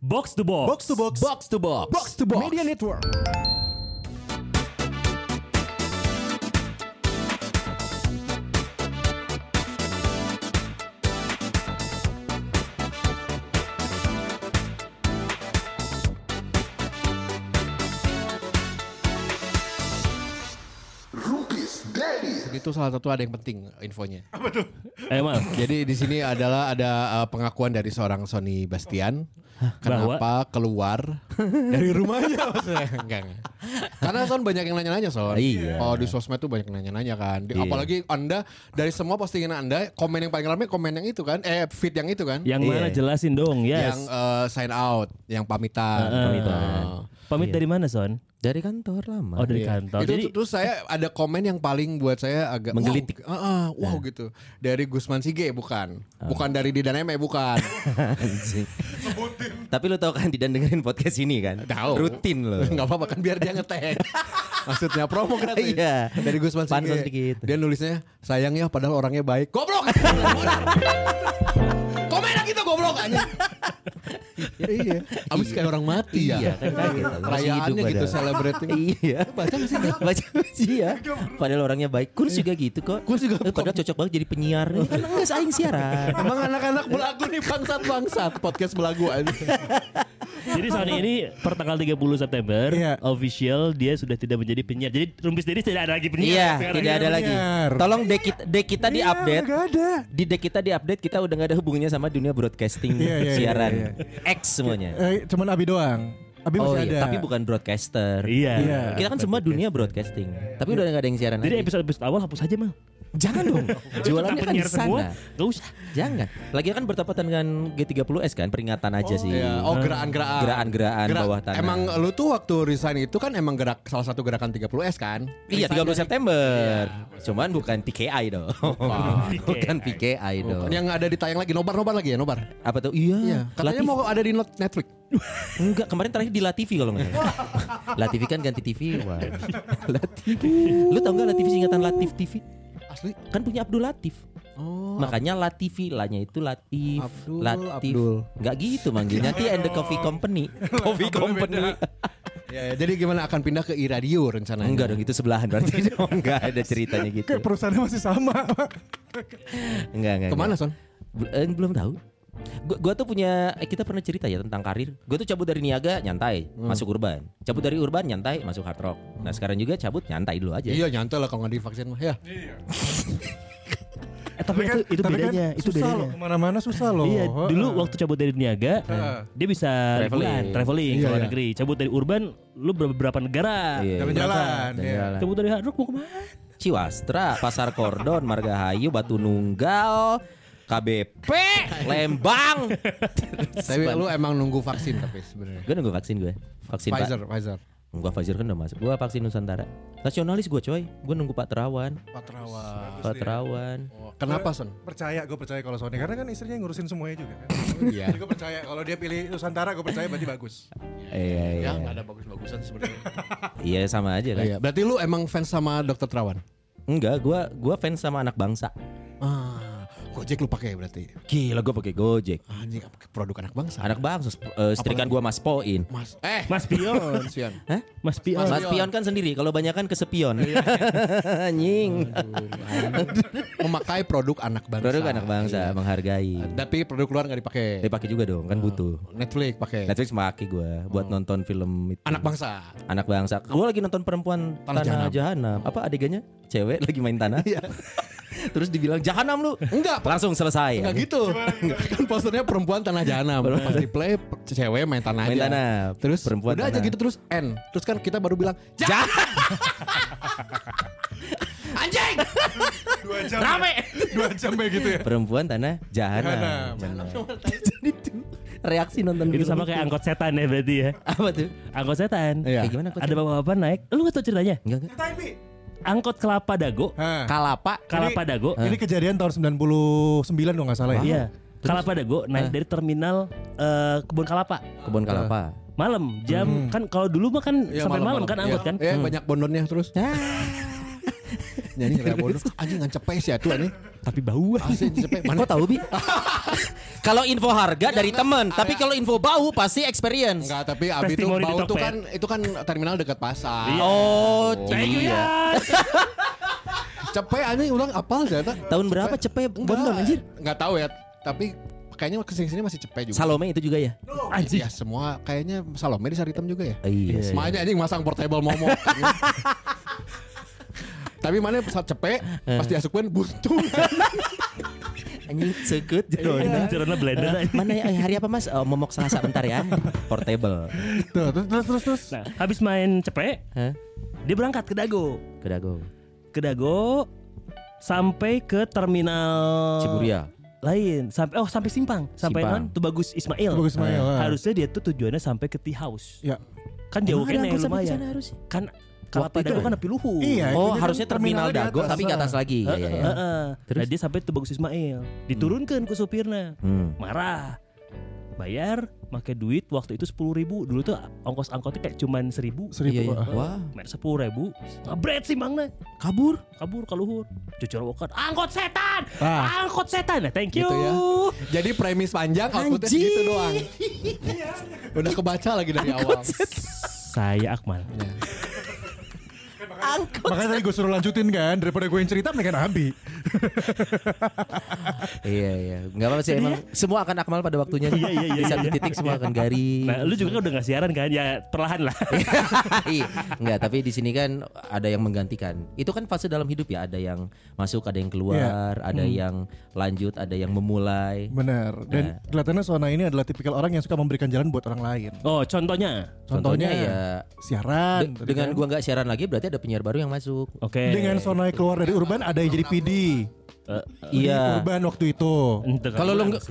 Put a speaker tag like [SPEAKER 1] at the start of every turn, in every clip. [SPEAKER 1] Box to box.
[SPEAKER 2] Box to box.
[SPEAKER 3] Box to box.
[SPEAKER 2] Box to box.
[SPEAKER 3] Media Network.
[SPEAKER 4] Rupis Daddy.
[SPEAKER 5] Itu salah satu ada yang penting infonya.
[SPEAKER 1] Eh, Mal.
[SPEAKER 5] Jadi di sini adalah ada uh, pengakuan dari seorang Sony Bastian kenapa keluar dari rumahnya maksudnya. Enggak, enggak. Karena Son banyak yang nanya-nanya Son.
[SPEAKER 3] Iya.
[SPEAKER 5] Oh di sosmed tuh banyak yang nanya-nanya kan. Di-
[SPEAKER 3] Iya.
[SPEAKER 5] Apalagi Anda dari semua postingan Anda komen yang paling ramai komen yang itu kan. Eh feed yang itu kan.
[SPEAKER 1] Yang mana
[SPEAKER 3] Iya.
[SPEAKER 1] jelasin dong, yes.
[SPEAKER 5] Yang uh, sign out, yang pamitan. Nah.
[SPEAKER 1] Eh,
[SPEAKER 3] pamitan.
[SPEAKER 1] Pamit dari mana, Son?
[SPEAKER 3] Iya. Dari kantor lama.
[SPEAKER 1] Oh, dari
[SPEAKER 5] Iya.
[SPEAKER 1] kantor.
[SPEAKER 5] Itu
[SPEAKER 1] Jadi
[SPEAKER 5] tu- terus saya ada komen yang paling buat saya agak
[SPEAKER 3] Menggelitik. Iya.
[SPEAKER 5] Wow, ah, ah, wow gitu. Dari Gusman Sige bukan.
[SPEAKER 3] Ah.
[SPEAKER 5] Bukan dari Didan Eme bukan.
[SPEAKER 3] Anjing. Tapi lu tau kan Didan dengerin podcast ini kan?
[SPEAKER 5] Tahu.
[SPEAKER 3] Rutin loh.
[SPEAKER 5] Enggak apa-apa kan biar dia ngetek. Maksudnya promo gratis.
[SPEAKER 3] Iya.
[SPEAKER 5] Dari Gusman Sige.
[SPEAKER 3] Pansos dikit.
[SPEAKER 5] Dia nulisnya sayang ya padahal orangnya baik. Goblok. Komen lagi tuh goblok aja. iya. Abis kayak orang mati ya.
[SPEAKER 3] Iya, kan kaget. Masih
[SPEAKER 5] Perayaannya
[SPEAKER 3] hidup
[SPEAKER 5] gitu
[SPEAKER 3] padahal.
[SPEAKER 5] celebrating.
[SPEAKER 3] Iya.
[SPEAKER 5] Baca gak sih?
[SPEAKER 3] Baca iya.
[SPEAKER 2] ya.
[SPEAKER 3] Padahal orangnya baik. Kurs juga gitu kok.
[SPEAKER 5] Kurs juga.
[SPEAKER 3] Eh, Padahal cocok banget jadi penyiar. Ini kan enggak saing siaran.
[SPEAKER 5] Emang anak-anak belagu nih bangsat-bangsat podcast belagu
[SPEAKER 3] Iya.
[SPEAKER 5] aja.
[SPEAKER 1] Jadi Sony ini per tanggal 30 September
[SPEAKER 2] Iya.
[SPEAKER 1] official dia sudah tidak menjadi penyiar. Jadi Rumpis Dedi tidak ada lagi penyiar.
[SPEAKER 2] Iya,
[SPEAKER 3] Iya,
[SPEAKER 2] sekarang
[SPEAKER 3] tidak ada
[SPEAKER 2] iya,
[SPEAKER 3] lagi.
[SPEAKER 2] benar.
[SPEAKER 3] Tolong dek kita, dek kita di update.
[SPEAKER 2] Gak ada.
[SPEAKER 3] Di dek kita di update kita udah nggak ada hubungannya sama dunia broadcasting
[SPEAKER 2] Iya, iya,
[SPEAKER 3] siaran.
[SPEAKER 2] iya,
[SPEAKER 3] X semuanya.
[SPEAKER 2] Eh, cuman Abi doang. Abi
[SPEAKER 3] Oh
[SPEAKER 2] masih ada.
[SPEAKER 3] iya, tapi bukan broadcaster.
[SPEAKER 1] Iya.
[SPEAKER 2] Iya.
[SPEAKER 3] Kita kan semua dunia broadcasting. Tapi udah nggak ada yang siaran
[SPEAKER 1] Jadi
[SPEAKER 3] lagi.
[SPEAKER 1] episode episode awal hapus aja mal.
[SPEAKER 3] Jangan dong. Jualannya kan di
[SPEAKER 1] penyiar semua.
[SPEAKER 3] sana.
[SPEAKER 1] Gak usah.
[SPEAKER 3] Jangan. Lagi kan bertepatan dengan G30S kan, peringatan aja sih.
[SPEAKER 5] Iya, oh geraan-geraan.
[SPEAKER 3] Geraan-geraan
[SPEAKER 5] Gerak-
[SPEAKER 3] bawah tanah.
[SPEAKER 5] Emang lu tuh waktu resign itu kan emang gerak salah satu gerakan 30S kan?
[SPEAKER 3] Iya 30 September.
[SPEAKER 5] Iya.
[SPEAKER 3] Cuman bukan PKI dong. bukan PKI dong.
[SPEAKER 5] kan? Yang ada ditayang lagi nobar-nobar lagi ya, nobar.
[SPEAKER 3] Apa tuh? Iya.
[SPEAKER 5] Iya, katanya
[SPEAKER 3] Latif.
[SPEAKER 5] mau ada di not- Netflix.
[SPEAKER 3] Enggak, kemarin terakhir di La TV kalau nggak salah. La TV kan ganti TV. Wah. La TV. Lu tau nggak La TV singkatan Latif TV?
[SPEAKER 5] Asli.
[SPEAKER 3] Kan punya Abdul Latif.
[SPEAKER 5] Oh.
[SPEAKER 3] Makanya La TV, lanya itu Latif,
[SPEAKER 5] Abdul,
[SPEAKER 3] Latif.
[SPEAKER 5] Abdul.
[SPEAKER 3] Enggak gitu manggilnya. Tea and the Coffee Company. Coffee Company.
[SPEAKER 5] Ya, ya, jadi gimana akan pindah ke iRadio rencananya?
[SPEAKER 3] Enggak dong, itu sebelahan berarti. dong. Enggak ada ceritanya gitu.
[SPEAKER 2] Kayak perusahaannya masih sama.
[SPEAKER 3] Enggak, enggak.
[SPEAKER 5] Kemana,
[SPEAKER 3] enggak.
[SPEAKER 5] Son?
[SPEAKER 3] Bel- eh, belum tahu. Gua, gua tuh punya eh, kita pernah cerita ya tentang karir. Gua tuh cabut dari niaga nyantai, masuk urban. Cabut dari urban nyantai, masuk hard rock. Nah, sekarang juga cabut nyantai dulu aja.
[SPEAKER 5] Iya, nyantai lah kalau nggak divaksin mah. Ya.
[SPEAKER 1] Eh, tapi, itu, itu
[SPEAKER 2] tapi
[SPEAKER 1] bedanya.
[SPEAKER 2] Kan
[SPEAKER 1] itu
[SPEAKER 2] susah
[SPEAKER 1] bedanya.
[SPEAKER 2] Loh, kemana-mana susah loh.
[SPEAKER 1] Iya, dulu
[SPEAKER 2] Heeh.
[SPEAKER 1] waktu cabut dari Niaga, dia bisa
[SPEAKER 3] Traveling.
[SPEAKER 1] liburan, traveling ke
[SPEAKER 5] Iya,
[SPEAKER 1] luar
[SPEAKER 5] iya.
[SPEAKER 1] negeri. Cabut dari urban, lu beberapa negara.
[SPEAKER 3] Iya.
[SPEAKER 2] Jalan-jalan. ya.
[SPEAKER 3] Jalan-jalan.
[SPEAKER 1] Cabut dari hard rock mau kemana?
[SPEAKER 3] Ciwastra, Pasar Kordon, Margahayu, Batu Nunggal, KBP, Lembang.
[SPEAKER 5] Tapi lu emang nunggu vaksin tapi sebenarnya.
[SPEAKER 3] Gue nunggu vaksin gue. Vaksin Iya, Pak-
[SPEAKER 5] Pfizer, Pfizer.
[SPEAKER 3] Gua Pfizer kan udah masuk. Gua vaksin Nusantara. Nasionalis gue coy. Gue nunggu Pak Terawan.
[SPEAKER 2] Patrawa.
[SPEAKER 3] Pak Terawan.
[SPEAKER 5] Kenapa, Son?
[SPEAKER 2] Percaya, gue percaya kalau Sony karena kan istrinya yang ngurusin semuanya juga kan.
[SPEAKER 5] Iya.
[SPEAKER 2] Jadi gue percaya kalau dia pilih Nusantara gue percaya berarti bagus.
[SPEAKER 3] Iya, iya.
[SPEAKER 5] Ya, nggak ada bagus-bagusan sebenarnya.
[SPEAKER 3] Iya sama aja kan.
[SPEAKER 5] Iya, berarti lu emang fans sama Dokter Terawan?
[SPEAKER 3] Enggak, gua gua fans sama anak bangsa.
[SPEAKER 5] Ah, Gojek lu pakai berarti.
[SPEAKER 3] Gila gua pakai Gojek.
[SPEAKER 5] Anjing produk anak bangsa.
[SPEAKER 3] Anak bangsa sp- eh, setrikaan gua Mas Poin.
[SPEAKER 5] Mas eh
[SPEAKER 1] Mas Pion.
[SPEAKER 5] Sian.
[SPEAKER 3] Hah?
[SPEAKER 1] Mas oh, Pion.
[SPEAKER 3] Mas Pion kan sendiri, kalau banyak kan kesepion.
[SPEAKER 5] Iya.
[SPEAKER 3] Anjing.
[SPEAKER 5] memakai produk anak bangsa.
[SPEAKER 3] Produk anak
[SPEAKER 5] Iya.
[SPEAKER 3] bangsa menghargai.
[SPEAKER 5] Tapi produk luar nggak dipakai.
[SPEAKER 3] Dia pakai juga dong,
[SPEAKER 5] Iya.
[SPEAKER 3] kan butuh.
[SPEAKER 5] Netflix pakai.
[SPEAKER 3] Netflix pakai gua buat nonton film itu.
[SPEAKER 5] Oh. Anak bangsa.
[SPEAKER 3] anak bangsa. Gua lagi nonton perempuan
[SPEAKER 5] Tanah Iya.
[SPEAKER 3] Tanah, Jahanam. Apa adegannya? Cewek lagi main tanah. Terus dibilang Jahanam lu.
[SPEAKER 5] Enggak,
[SPEAKER 3] Langsung selesai.
[SPEAKER 5] Enggak gitu. kan posternya perempuan tanah jahanam. Pas di play pe- cewek main tanah
[SPEAKER 3] Main
[SPEAKER 5] aja.
[SPEAKER 3] tanah.
[SPEAKER 5] Terus
[SPEAKER 3] Perempuan
[SPEAKER 5] udah aja
[SPEAKER 3] tanah.
[SPEAKER 5] gitu terus N. Terus kan kita baru bilang "Ja-
[SPEAKER 3] Jahanam.
[SPEAKER 5] anjing.
[SPEAKER 2] Dua jam. Rame. Dua jam kayak gitu ya.
[SPEAKER 3] perempuan tanah jahanam. Bener. Jadi itu reaksi nonton
[SPEAKER 1] Itu
[SPEAKER 3] film
[SPEAKER 1] gitu, sama kayak angkot setan ya berarti ya.
[SPEAKER 3] apa tuh?
[SPEAKER 1] Angkot setan.
[SPEAKER 5] Iya.
[SPEAKER 3] Kayak gimana? Angkot
[SPEAKER 1] Ada
[SPEAKER 3] setan?
[SPEAKER 1] bapak-bapak naik. Lu gak tau ceritanya?
[SPEAKER 3] Enggak enggak.
[SPEAKER 2] Tapi.
[SPEAKER 1] Angkot kelapa dago.
[SPEAKER 2] Hah.
[SPEAKER 5] Kalapa.
[SPEAKER 1] Kelapa dago.
[SPEAKER 3] eh.
[SPEAKER 2] Ini kejadian tahun 99 dong nggak salah ya.
[SPEAKER 1] Iya. Kelapa dago naik dari terminal eh, kebun kelapa.
[SPEAKER 3] Kebun kelapa.
[SPEAKER 1] Malam jam kan kalau dulu mah kan
[SPEAKER 5] Iya,
[SPEAKER 1] sampai malam, kan
[SPEAKER 5] Iya.
[SPEAKER 1] angkot kan.
[SPEAKER 5] Eh banyak bondonnya terus. Nyanyi rela bodoh. Anjing ngancepes ya tuh anjing.
[SPEAKER 1] Tapi bau.
[SPEAKER 5] Asli cepet. Mana
[SPEAKER 3] Kok tahu bi? Kalau info harga dari temen, tapi kalau info bau pasti experience.
[SPEAKER 5] Enggak, tapi Abi itu
[SPEAKER 1] Testimoni di
[SPEAKER 5] bau itu
[SPEAKER 1] Tokped.
[SPEAKER 5] kan itu kan terminal dekat pasar.
[SPEAKER 1] Iya.
[SPEAKER 3] Oh,
[SPEAKER 1] Thank you
[SPEAKER 3] iya.
[SPEAKER 1] ya.
[SPEAKER 5] Cepet anjing ulang apal ternyata.
[SPEAKER 3] Tahun berapa Cepe Bonton anjir?
[SPEAKER 5] Enggak tahu ya, tapi kayaknya kesini sini masih cepet juga.
[SPEAKER 3] Salome itu juga ya?
[SPEAKER 5] Anjing. Ya semua kayaknya Salome di sari hitam juga ya.
[SPEAKER 3] Iya. sih.
[SPEAKER 5] Semuanya anjing masang portable momo. Tapi mana pesawat cepet
[SPEAKER 1] Eh.
[SPEAKER 5] pas diasupkan buntung.
[SPEAKER 3] Anjing sekut
[SPEAKER 1] Ini caranya blender aja.
[SPEAKER 3] Eh, Iya. Mana ya, hari apa mas? Oh, momok Selasa bentar ya. Portable.
[SPEAKER 5] Tuh, terus terus terus terus.
[SPEAKER 1] Nah, habis main cepek,
[SPEAKER 3] Hah?
[SPEAKER 1] dia berangkat ke Dago.
[SPEAKER 3] Ke Dago.
[SPEAKER 1] Ke Dago sampai ke terminal
[SPEAKER 3] Ciburia.
[SPEAKER 1] lain sampai oh sampai simpang sampai
[SPEAKER 3] Simpang.
[SPEAKER 1] non tuh bagus Ismail
[SPEAKER 2] Tubagus Ismail,
[SPEAKER 1] Eh,
[SPEAKER 2] ah.
[SPEAKER 1] harusnya dia tuh tujuannya sampai ke tea house
[SPEAKER 2] Ya.
[SPEAKER 1] kan jauh kan
[SPEAKER 3] Emang ada
[SPEAKER 1] ya
[SPEAKER 3] angkot sampai ke
[SPEAKER 1] lumayan
[SPEAKER 3] sana harusnya?
[SPEAKER 1] kan kalau
[SPEAKER 3] Waktu itu
[SPEAKER 1] Dago
[SPEAKER 3] ya?
[SPEAKER 1] kan api luhur
[SPEAKER 2] Iya.
[SPEAKER 3] Oh
[SPEAKER 2] ini kan
[SPEAKER 3] harusnya terminal
[SPEAKER 2] terminal di
[SPEAKER 3] Dago
[SPEAKER 2] atas,
[SPEAKER 3] tapi ke atas lagi. Iya iya. iya.
[SPEAKER 1] Heeh.
[SPEAKER 3] Terus?
[SPEAKER 1] Nah dia sampai tuh bagus Ismail diturunkan ke supirnya
[SPEAKER 3] Hmm.
[SPEAKER 1] marah bayar pakai duit waktu itu sepuluh ribu dulu tuh ongkos angkotnya kayak cuman seribu
[SPEAKER 3] Iya, iya.
[SPEAKER 2] Seribu. ah.
[SPEAKER 3] Wah,
[SPEAKER 1] sepuluh ribu ngabret sih mangna
[SPEAKER 3] kabur.
[SPEAKER 1] kabur ke luhur cucur wokan angkot setan
[SPEAKER 2] Ah.
[SPEAKER 1] angkot setan Nah, thank you
[SPEAKER 5] Gitu ya. Jadi premis panjang outputnya
[SPEAKER 3] Anjing.
[SPEAKER 5] gitu doang. Udah kebaca lagi dari awal.
[SPEAKER 1] saya Akmal
[SPEAKER 2] Makanya tadi gue suruh lanjutin kan daripada gue yang cerita mendingan Abi.
[SPEAKER 3] Iya iya. Enggak apa-apa sih emang semua akan akmal pada waktunya.
[SPEAKER 1] Iya, iya, iya,
[SPEAKER 3] Di satu
[SPEAKER 1] iya.
[SPEAKER 3] titik semua akan garing.
[SPEAKER 1] Nah, lu juga kan udah gak siaran kan? Ya perlahan lah.
[SPEAKER 3] Iya. Enggak, tapi di sini kan ada yang menggantikan. Itu kan fase dalam hidup ya, ada yang masuk, ada yang keluar,
[SPEAKER 1] Iya.
[SPEAKER 3] ada
[SPEAKER 1] Hmm.
[SPEAKER 3] yang lanjut, ada yang memulai.
[SPEAKER 2] Benar.
[SPEAKER 3] Iya.
[SPEAKER 2] Dan kelihatannya Sona ini adalah tipikal orang yang suka memberikan jalan buat orang lain.
[SPEAKER 1] Oh, contohnya. gitu
[SPEAKER 2] Contohnya,
[SPEAKER 3] ya
[SPEAKER 2] siaran.
[SPEAKER 3] de-
[SPEAKER 2] tadi
[SPEAKER 3] dengan
[SPEAKER 2] kan.
[SPEAKER 3] gua nggak siaran lagi berarti ada penyiar baru yang masuk.
[SPEAKER 1] Oke.
[SPEAKER 2] dengan Sona keluar dari urban ada yang jadi PD.
[SPEAKER 1] Eh,
[SPEAKER 3] Iya. Mm.
[SPEAKER 2] Urban waktu itu.
[SPEAKER 1] entah
[SPEAKER 3] Kalau
[SPEAKER 1] kan.
[SPEAKER 3] lu nggak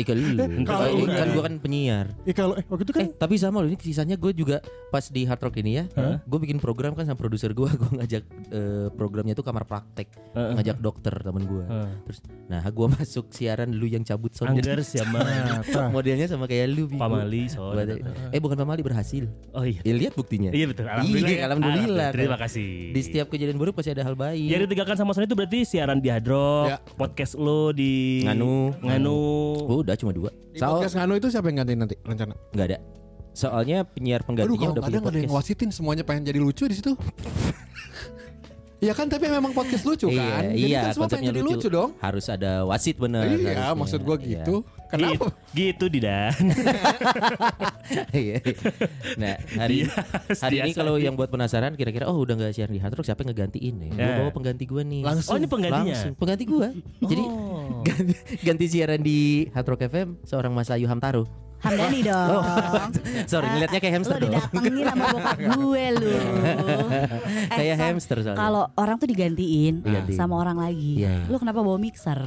[SPEAKER 3] Ika lu.
[SPEAKER 2] Kalau
[SPEAKER 3] Eh,
[SPEAKER 2] enggak.
[SPEAKER 3] kan gua kan penyiar.
[SPEAKER 2] Ih kalau eh waktu itu kan
[SPEAKER 3] Eh tapi sama loh ini sisanya gue juga pas di Hard Rock ini ya Gue bikin program kan sama produser gue Gue ngajak eh, programnya tuh kamar praktek Ngajak dokter temen gue Terus nah gue masuk siaran lu yang cabut sound
[SPEAKER 1] Anggar
[SPEAKER 3] Eh.
[SPEAKER 1] siapa?
[SPEAKER 2] Nah,
[SPEAKER 3] Modelnya sama kayak lu Bimo.
[SPEAKER 1] Pamali, Son.
[SPEAKER 3] Buat- Eh bukan Pamali berhasil
[SPEAKER 1] Oh iya.
[SPEAKER 3] Ya lihat buktinya
[SPEAKER 1] Iya betul. Alhamdulillah.
[SPEAKER 3] Iya, Alhamdulillah
[SPEAKER 1] Terima
[SPEAKER 3] kan.
[SPEAKER 1] kasih. Iya,
[SPEAKER 3] Di setiap kejadian buruk pasti ada hal baik
[SPEAKER 1] Jadi ditinggalkan sama Sony itu berarti siaran di Hadrock,
[SPEAKER 5] Ya.
[SPEAKER 1] podcast lo di
[SPEAKER 3] Nganu.
[SPEAKER 1] Nganu.
[SPEAKER 3] Oh, Udah cuma dua
[SPEAKER 5] Di
[SPEAKER 3] Soal
[SPEAKER 5] podcast Nganu itu siapa yang gantiin nanti rencana?
[SPEAKER 3] nggak ada Soalnya penyiar
[SPEAKER 5] Aduh
[SPEAKER 3] penggantinya
[SPEAKER 5] kalau
[SPEAKER 3] udah
[SPEAKER 5] kadang
[SPEAKER 3] punya
[SPEAKER 5] ada yang
[SPEAKER 3] podcast
[SPEAKER 5] ngewasitin semuanya pengen jadi lucu di situ. Iya kan tapi memang podcast lucu kan.
[SPEAKER 3] Iya,
[SPEAKER 5] Jadi
[SPEAKER 3] iya,
[SPEAKER 5] kan semua pengen
[SPEAKER 3] konsepnya
[SPEAKER 5] jadi lucu, dong.
[SPEAKER 3] Harus ada wasit bener.
[SPEAKER 5] Iya,
[SPEAKER 3] harusnya.
[SPEAKER 5] maksud gua
[SPEAKER 3] Iya.
[SPEAKER 5] gitu.
[SPEAKER 1] Gitu,
[SPEAKER 5] Kenapa?
[SPEAKER 1] gitu Didan.
[SPEAKER 3] Iya. nah hari
[SPEAKER 1] Bias,
[SPEAKER 3] hari ini
[SPEAKER 1] biasa
[SPEAKER 3] kalau
[SPEAKER 1] aja.
[SPEAKER 3] yang buat penasaran kira-kira oh udah nggak siaran di Hard Rock siapa yang ngegantiin nih? Gue
[SPEAKER 1] Ya.
[SPEAKER 3] bawa pengganti gue nih.
[SPEAKER 5] Langsung.
[SPEAKER 1] Oh, ini penggantinya?
[SPEAKER 3] Langsung. Pengganti gue. Jadi
[SPEAKER 5] Oh.
[SPEAKER 3] ganti, ganti siaran di Hard Rock FM seorang Mas Ayu Hamtaro.
[SPEAKER 6] Hamdani dong.
[SPEAKER 3] Oh. Sorry, ngeliatnya kayak hamster
[SPEAKER 6] Lo
[SPEAKER 3] dong. Iya.
[SPEAKER 6] didatengin sama bokap gue lu. Eh,
[SPEAKER 3] Kayak
[SPEAKER 6] Sam,
[SPEAKER 3] hamster soalnya.
[SPEAKER 6] Kalau orang tuh digantiin
[SPEAKER 3] Digantiin.
[SPEAKER 6] sama orang lagi.
[SPEAKER 3] Iya.
[SPEAKER 6] Lu kenapa bawa mixer?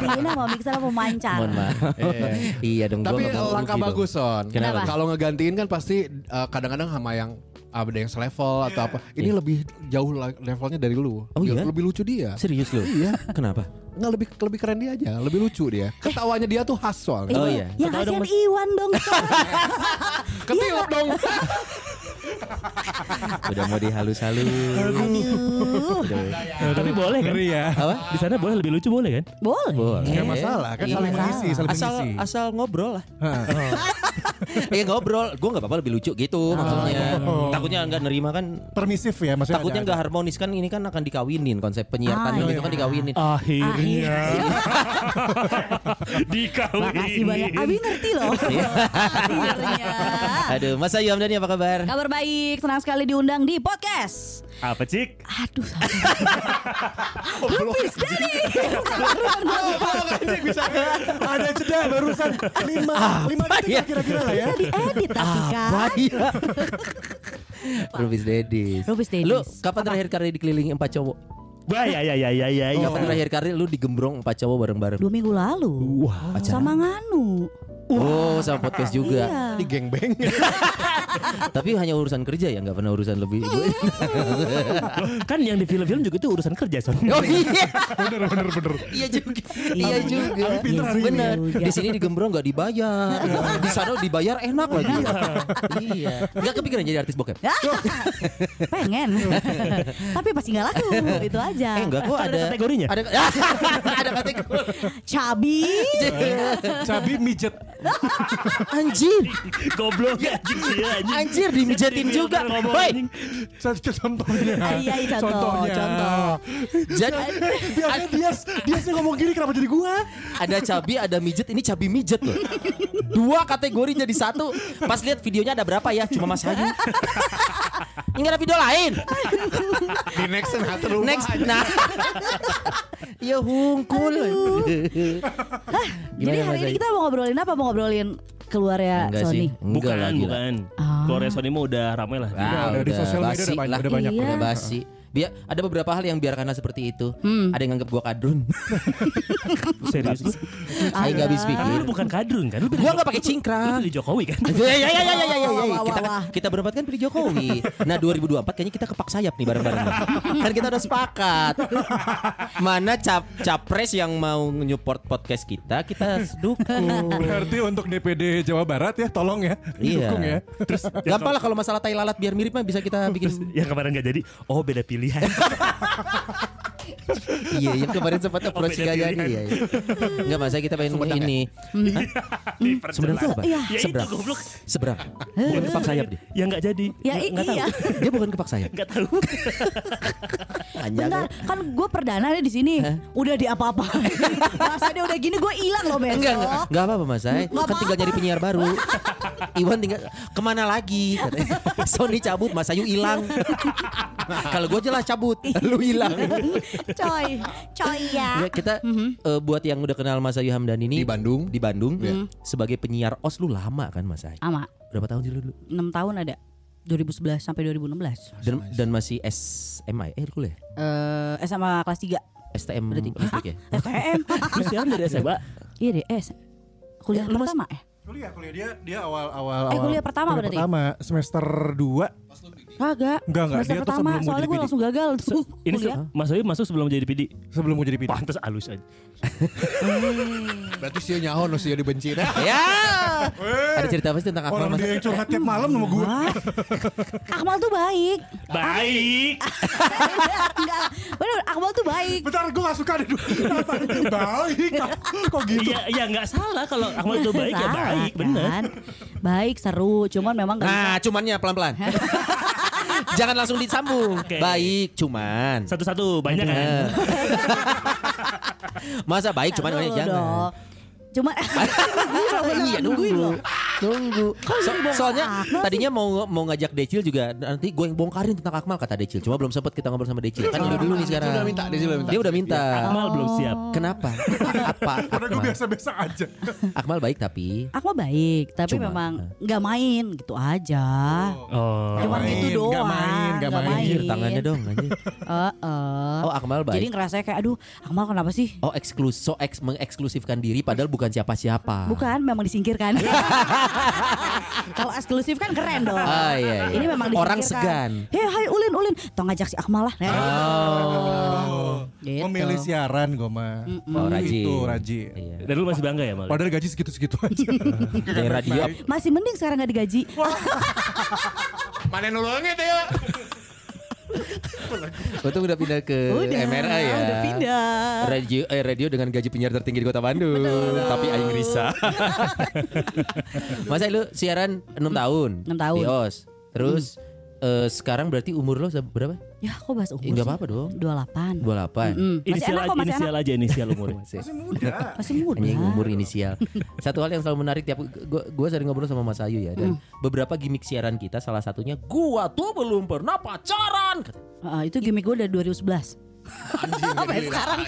[SPEAKER 6] Gantiin sama mixer apa mancar?
[SPEAKER 3] Mohon maaf. iya dong.
[SPEAKER 5] Tapi langkah bagus son.
[SPEAKER 3] Kenapa?
[SPEAKER 5] Kalau ngegantiin kan pasti eh, kadang-kadang sama yang ah, ada yang selevel atau apa. Ini lebih jauh la- levelnya dari lu.
[SPEAKER 3] Iya. Oh,
[SPEAKER 5] Dia-
[SPEAKER 3] iya?
[SPEAKER 5] Lebih lucu dia.
[SPEAKER 3] Serius lu? Iya. Kenapa?
[SPEAKER 5] Nggak lebih lebih keren dia aja, lebih lucu dia. Ketawanya dia tuh khas soalnya.
[SPEAKER 3] Oh, iya.
[SPEAKER 6] Eh, Yang
[SPEAKER 1] Atau ada
[SPEAKER 6] kasihan
[SPEAKER 1] mas-
[SPEAKER 6] Iwan dong.
[SPEAKER 5] Ketiup dong.
[SPEAKER 3] Udah mau dihalus-halus.
[SPEAKER 6] Aduh.
[SPEAKER 1] Tapi boleh kan?
[SPEAKER 2] ngeri ya.
[SPEAKER 3] Apa?
[SPEAKER 1] Di sana boleh lebih lucu boleh kan?
[SPEAKER 6] Boleh.
[SPEAKER 3] Boleh.
[SPEAKER 2] Gak masalah kan
[SPEAKER 6] Iya,
[SPEAKER 2] saling
[SPEAKER 6] masalah.
[SPEAKER 2] mengisi, saling
[SPEAKER 3] asal
[SPEAKER 2] mengisi.
[SPEAKER 3] asal ngobrol lah. Oh. Iya ngobrol, gue nggak apa-apa lebih lucu gitu maksudnya.
[SPEAKER 2] Oh.
[SPEAKER 3] Takutnya nggak nerima kan.
[SPEAKER 2] Permisif ya maksudnya.
[SPEAKER 3] Takutnya nggak harmonis kan ini kan akan dikawinin konsep penyiar
[SPEAKER 6] Ah,
[SPEAKER 3] tandem
[SPEAKER 6] iya.
[SPEAKER 3] itu kan
[SPEAKER 2] Oh.
[SPEAKER 3] dikawinin.
[SPEAKER 1] Akhirnya
[SPEAKER 6] Akhirnya.
[SPEAKER 1] dikawinin.
[SPEAKER 6] Makasih banyak. Abi ngerti loh.
[SPEAKER 3] Iya.
[SPEAKER 6] Akhirnya.
[SPEAKER 3] Aduh, Mas Ayu Hamdani apa kabar?
[SPEAKER 6] Kabar baik, senang sekali diundang di podcast.
[SPEAKER 1] Apa cik?
[SPEAKER 6] Aduh, Lupis dari
[SPEAKER 2] Ada jeda barusan 5 5
[SPEAKER 3] ya?
[SPEAKER 2] detik kira-kira lah ya.
[SPEAKER 6] bisa diedit tapi kan.
[SPEAKER 3] Bahaya. ya? Rubis Dedis.
[SPEAKER 6] Rubis Dedis.
[SPEAKER 3] Lu kapan terakhir kali dikelilingi empat cowok?
[SPEAKER 1] Wah ya ya ya ya ya.
[SPEAKER 2] Iya.
[SPEAKER 1] ya.
[SPEAKER 3] Oh. Kapan terakhir kali lu digembrong empat cowok bareng-bareng?
[SPEAKER 6] Dua minggu lalu.
[SPEAKER 1] Wah.
[SPEAKER 6] Sama Nganu.
[SPEAKER 3] Oh, sama podcast juga.
[SPEAKER 6] Iya.
[SPEAKER 5] Ini geng beng.
[SPEAKER 3] Tapi hanya urusan kerja ya, nggak pernah urusan lebih.
[SPEAKER 6] Iya.
[SPEAKER 1] kan yang di film-film juga itu urusan kerja son.
[SPEAKER 3] oh iya,
[SPEAKER 2] Bener bener bener.
[SPEAKER 3] iya juga, iya juga.
[SPEAKER 2] Abi pinter hari ini.
[SPEAKER 3] Bener. Iya. Di sini digembrong nggak dibayar, di sana dibayar enak lagi. Iya. Nggak kepikiran jadi artis bokep.
[SPEAKER 6] Iya. Pengen. Tapi pasti nggak laku. Itu aja.
[SPEAKER 3] Eh enggak kok
[SPEAKER 1] Kan ada
[SPEAKER 3] ada
[SPEAKER 1] kategorinya?
[SPEAKER 3] Ada ada kategori.
[SPEAKER 6] Cabi.
[SPEAKER 3] Iya.
[SPEAKER 2] Cabi mijet.
[SPEAKER 3] Anjir,
[SPEAKER 1] Goblok ya anjing dia anjing.
[SPEAKER 3] anjir dimijetin
[SPEAKER 1] Jadi
[SPEAKER 3] juga.
[SPEAKER 1] filter ngomong,
[SPEAKER 3] Woi,
[SPEAKER 1] anjing.
[SPEAKER 2] Contoh- Contohnya.
[SPEAKER 6] Iya, iya, contoh, contoh.
[SPEAKER 3] jadi
[SPEAKER 2] Biasanya dia dia sih ngomong gini kenapa jadi gua?
[SPEAKER 3] ada cabi, ada mijet, ini cabi mijet loh. Dua kategori jadi satu. Pas lihat videonya ada berapa ya? Cuma Mas Hayu. Ini nggak ada video lain.
[SPEAKER 5] Di next nah terus.
[SPEAKER 3] Next. Nah. Ya hungkul.
[SPEAKER 6] Jadi hari ini kita mau ngobrolin apa? Mau ngobrolin keluar
[SPEAKER 3] ya,
[SPEAKER 6] ya
[SPEAKER 3] Enggak sih.
[SPEAKER 6] Sony.
[SPEAKER 3] Enggak
[SPEAKER 1] Bukan,
[SPEAKER 3] lah, gila. Ah.
[SPEAKER 1] bukan.
[SPEAKER 6] Ah.
[SPEAKER 1] Keluarga Sony mah udah ramai lah.
[SPEAKER 3] Wow,
[SPEAKER 2] Udah, di
[SPEAKER 3] udah
[SPEAKER 2] sosial media
[SPEAKER 3] basi
[SPEAKER 2] udah banyak,
[SPEAKER 3] lah.
[SPEAKER 2] udah banyak.
[SPEAKER 6] Iya.
[SPEAKER 3] Udah basi. Biar ada beberapa hal yang biarkanlah seperti itu.
[SPEAKER 2] Hmm.
[SPEAKER 3] Ada yang nganggap gua kadrun.
[SPEAKER 1] Serius lu?
[SPEAKER 3] Saya nggak habis
[SPEAKER 1] Tapi
[SPEAKER 3] pikir.
[SPEAKER 1] lu bukan kadrun kan? Lu pilih
[SPEAKER 3] Gua
[SPEAKER 1] Joko-
[SPEAKER 3] nggak pakai
[SPEAKER 1] Lu
[SPEAKER 3] cingkrang.
[SPEAKER 1] pilih Jokowi kan?
[SPEAKER 3] Ya ya ya ya ya ya ya.
[SPEAKER 6] Wah, wah,
[SPEAKER 3] Kita
[SPEAKER 6] wah, wah.
[SPEAKER 3] kita berempat kan pilih Jokowi. Nah 2024 kayaknya kita kepak sayap nih bareng-bareng. kan kita udah sepakat. Mana cap capres yang mau nyupport podcast kita, kita dukung.
[SPEAKER 2] Berarti untuk DPD Jawa Barat ya tolong ya
[SPEAKER 3] Iya.
[SPEAKER 2] dukung ya.
[SPEAKER 1] Terus yang
[SPEAKER 3] Gampang lah kalau masalah tai lalat biar mirip mah bisa kita bikin.
[SPEAKER 1] yang kemarin nggak jadi, oh beda pilihan.
[SPEAKER 3] iya, yang kemarin sempat approach
[SPEAKER 1] Oh, beda
[SPEAKER 3] Gayani
[SPEAKER 1] pilihan.
[SPEAKER 3] ya. Enggak masa kita pengen ini.
[SPEAKER 1] Diperjelas.
[SPEAKER 3] Sebenarnya itu apa?
[SPEAKER 6] Iya.
[SPEAKER 1] Ya itu
[SPEAKER 3] Seberang.
[SPEAKER 1] goblok.
[SPEAKER 3] Seberang. Bukan kepak sayap dia.
[SPEAKER 1] Ya nggak jadi.
[SPEAKER 6] Ya, i-
[SPEAKER 1] Nggak tahu.
[SPEAKER 6] iya.
[SPEAKER 3] Dia bukan kepak sayap.
[SPEAKER 1] Nggak tahu.
[SPEAKER 3] Anjay.
[SPEAKER 6] Bentar, kan gue perdana nih di sini. Udah di apa-apa. Masa dia udah gini gue hilang loh besok.
[SPEAKER 3] Enggak, enggak, enggak apa-apa Mas Ay. Kan
[SPEAKER 6] Enggak
[SPEAKER 3] tinggal
[SPEAKER 6] apa-apa.
[SPEAKER 3] nyari penyiar baru. Iwan tinggal kemana lagi? katanya. Sony cabut, Mas Ayu hilang. Kalau gue jelas cabut, lu hilang.
[SPEAKER 6] coy, coy ya.
[SPEAKER 3] Ya, kita eh, buat yang udah kenal Mas Ayu Hamdan ini
[SPEAKER 5] Di Bandung.
[SPEAKER 3] di Bandung sebagai penyiar OS lu lama kan Mas Ayu?
[SPEAKER 6] Ama,
[SPEAKER 3] Berapa tahun sih lu dulu?
[SPEAKER 6] 6 tahun ada. 2011 sampai 2016.
[SPEAKER 3] Dan, dan masih SMA eh kuliah
[SPEAKER 6] Eh, SMA kelas 3.
[SPEAKER 3] STM listrik ya?
[SPEAKER 6] STM.
[SPEAKER 1] Lu sekarang dari SMA.
[SPEAKER 6] Iya deh, eh, se- kuliah
[SPEAKER 3] Eh, lu mas-
[SPEAKER 6] pertama ya?
[SPEAKER 2] Kuliah kuliah dia dia awal awal.
[SPEAKER 6] Eh, kuliah pertama berarti?
[SPEAKER 2] Pertama semester 2
[SPEAKER 6] Kagak.
[SPEAKER 2] Enggak, enggak. Dia
[SPEAKER 6] Semester
[SPEAKER 2] tuh
[SPEAKER 6] pertama,
[SPEAKER 2] sebelum mau
[SPEAKER 6] soalnya
[SPEAKER 2] jadi
[SPEAKER 6] gue
[SPEAKER 2] PD.
[SPEAKER 6] langsung gagal tuh
[SPEAKER 1] Ini
[SPEAKER 6] kuliah.
[SPEAKER 1] se- Mas Ayu masuk sebelum jadi PD.
[SPEAKER 2] sebelum mau jadi PD.
[SPEAKER 1] Pantes alus aja.
[SPEAKER 5] Berarti sih nyahon sih dibenci nah.
[SPEAKER 3] ya. Ada cerita apa sih tentang Akmal
[SPEAKER 2] Orang
[SPEAKER 3] Mas?
[SPEAKER 2] dia yang curhat tiap malam sama gue.
[SPEAKER 6] Akmal tuh baik.
[SPEAKER 1] Baik.
[SPEAKER 6] enggak, bener, Akmal tuh baik.
[SPEAKER 2] Bentar gue gak suka deh dulu. Baik kok gitu.
[SPEAKER 1] Iya, ya nggak salah kalau Akmal itu baik ya
[SPEAKER 6] Salah,
[SPEAKER 1] baik, bener.
[SPEAKER 6] kan? Baik, seru. Cuman memang gak bisa.
[SPEAKER 3] Nah, cumannya pelan-pelan. Jangan langsung disambung.
[SPEAKER 1] Oke.
[SPEAKER 3] Baik, cuman.
[SPEAKER 1] Satu-satu banyak kan.
[SPEAKER 3] Eh. Masa baik cuman
[SPEAKER 6] Seru
[SPEAKER 3] eh, jangan.
[SPEAKER 6] dong. Cuma
[SPEAKER 3] iya nungguin loh. Nunggu. So- soalnya tadinya mau mau ngajak Decil juga nanti gue yang bongkarin tentang Akmal kata Decil. Cuma belum sempet kita ngobrol sama Decil. Kan udah dulu nih sekarang.
[SPEAKER 5] Dia udah minta, Decil udah minta. Iya.
[SPEAKER 3] Dia udah minta.
[SPEAKER 1] Akmal belum siap.
[SPEAKER 6] Oh.
[SPEAKER 3] Kenapa? Apa?
[SPEAKER 2] Karena gue
[SPEAKER 3] Akmal?
[SPEAKER 2] biasa-biasa aja.
[SPEAKER 3] Akmal baik tapi
[SPEAKER 6] Aku baik, tapi
[SPEAKER 3] Cuma,
[SPEAKER 6] memang
[SPEAKER 3] eh.
[SPEAKER 6] nggak main gitu aja.
[SPEAKER 1] Oh.
[SPEAKER 6] Cuma
[SPEAKER 2] main,
[SPEAKER 6] gitu
[SPEAKER 2] nggak
[SPEAKER 6] doang.
[SPEAKER 2] main, nggak
[SPEAKER 6] nggak
[SPEAKER 2] main.
[SPEAKER 3] Anjir, tangannya dong anjir.
[SPEAKER 6] Heeh.
[SPEAKER 3] Oh, Akmal baik.
[SPEAKER 6] Jadi ngerasa kayak aduh, Akmal kenapa sih?
[SPEAKER 3] Oh eksklus, so eks mengeksklusifkan diri padahal bukan siapa-siapa.
[SPEAKER 6] Bukan, memang disingkirkan. Kalau eksklusif kan keren dong.
[SPEAKER 3] Ah, iya, iya.
[SPEAKER 6] Ini memang disingkirkan.
[SPEAKER 3] Orang segan.
[SPEAKER 6] Hei, hai Ulin, Ulin, tong ngajak si Akmal lah.
[SPEAKER 2] Oh.
[SPEAKER 6] Gitu.
[SPEAKER 2] Memilih siaran gue mah.
[SPEAKER 3] Oh, rajin.
[SPEAKER 2] Itu rajin.
[SPEAKER 3] Iya.
[SPEAKER 1] Dan lu masih bangga ya, Mal?
[SPEAKER 2] Padahal gaji segitu-segitu aja.
[SPEAKER 3] Dari radio apa?
[SPEAKER 6] Masih mending sekarang nggak digaji.
[SPEAKER 5] Mana nulungnya Teo?
[SPEAKER 3] Untung udah pindah ke
[SPEAKER 6] Udah,
[SPEAKER 3] MRA ya.
[SPEAKER 6] udah pindah.
[SPEAKER 3] Radio eh radio dengan gaji penyiar tertinggi di Kota Bandung. Tapi aing risah. Masa lu siaran 6 tahun?
[SPEAKER 6] Enam tahun.
[SPEAKER 3] Di OS. Terus eh, sekarang berarti umur lo se- berapa?
[SPEAKER 6] Ya, kok bahas umur.
[SPEAKER 3] Eh, nggak
[SPEAKER 6] sih?
[SPEAKER 3] apa-apa dong. 28.
[SPEAKER 6] 28. Mm,
[SPEAKER 1] Inisial aja,
[SPEAKER 6] Masih enak kok, masih enak.
[SPEAKER 1] inisial aja, inisial umurnya.
[SPEAKER 2] Masih muda.
[SPEAKER 6] Masih muda.
[SPEAKER 3] Hanya umur inisial. Satu hal yang selalu menarik tiap gua, gua sering ngobrol sama Mas Ayu ya
[SPEAKER 6] Mm.
[SPEAKER 3] dan beberapa gimmick siaran kita salah satunya gua tuh belum pernah pacaran.
[SPEAKER 6] Ah, itu gimmick gue dari 2011. Sampai ya, sekarang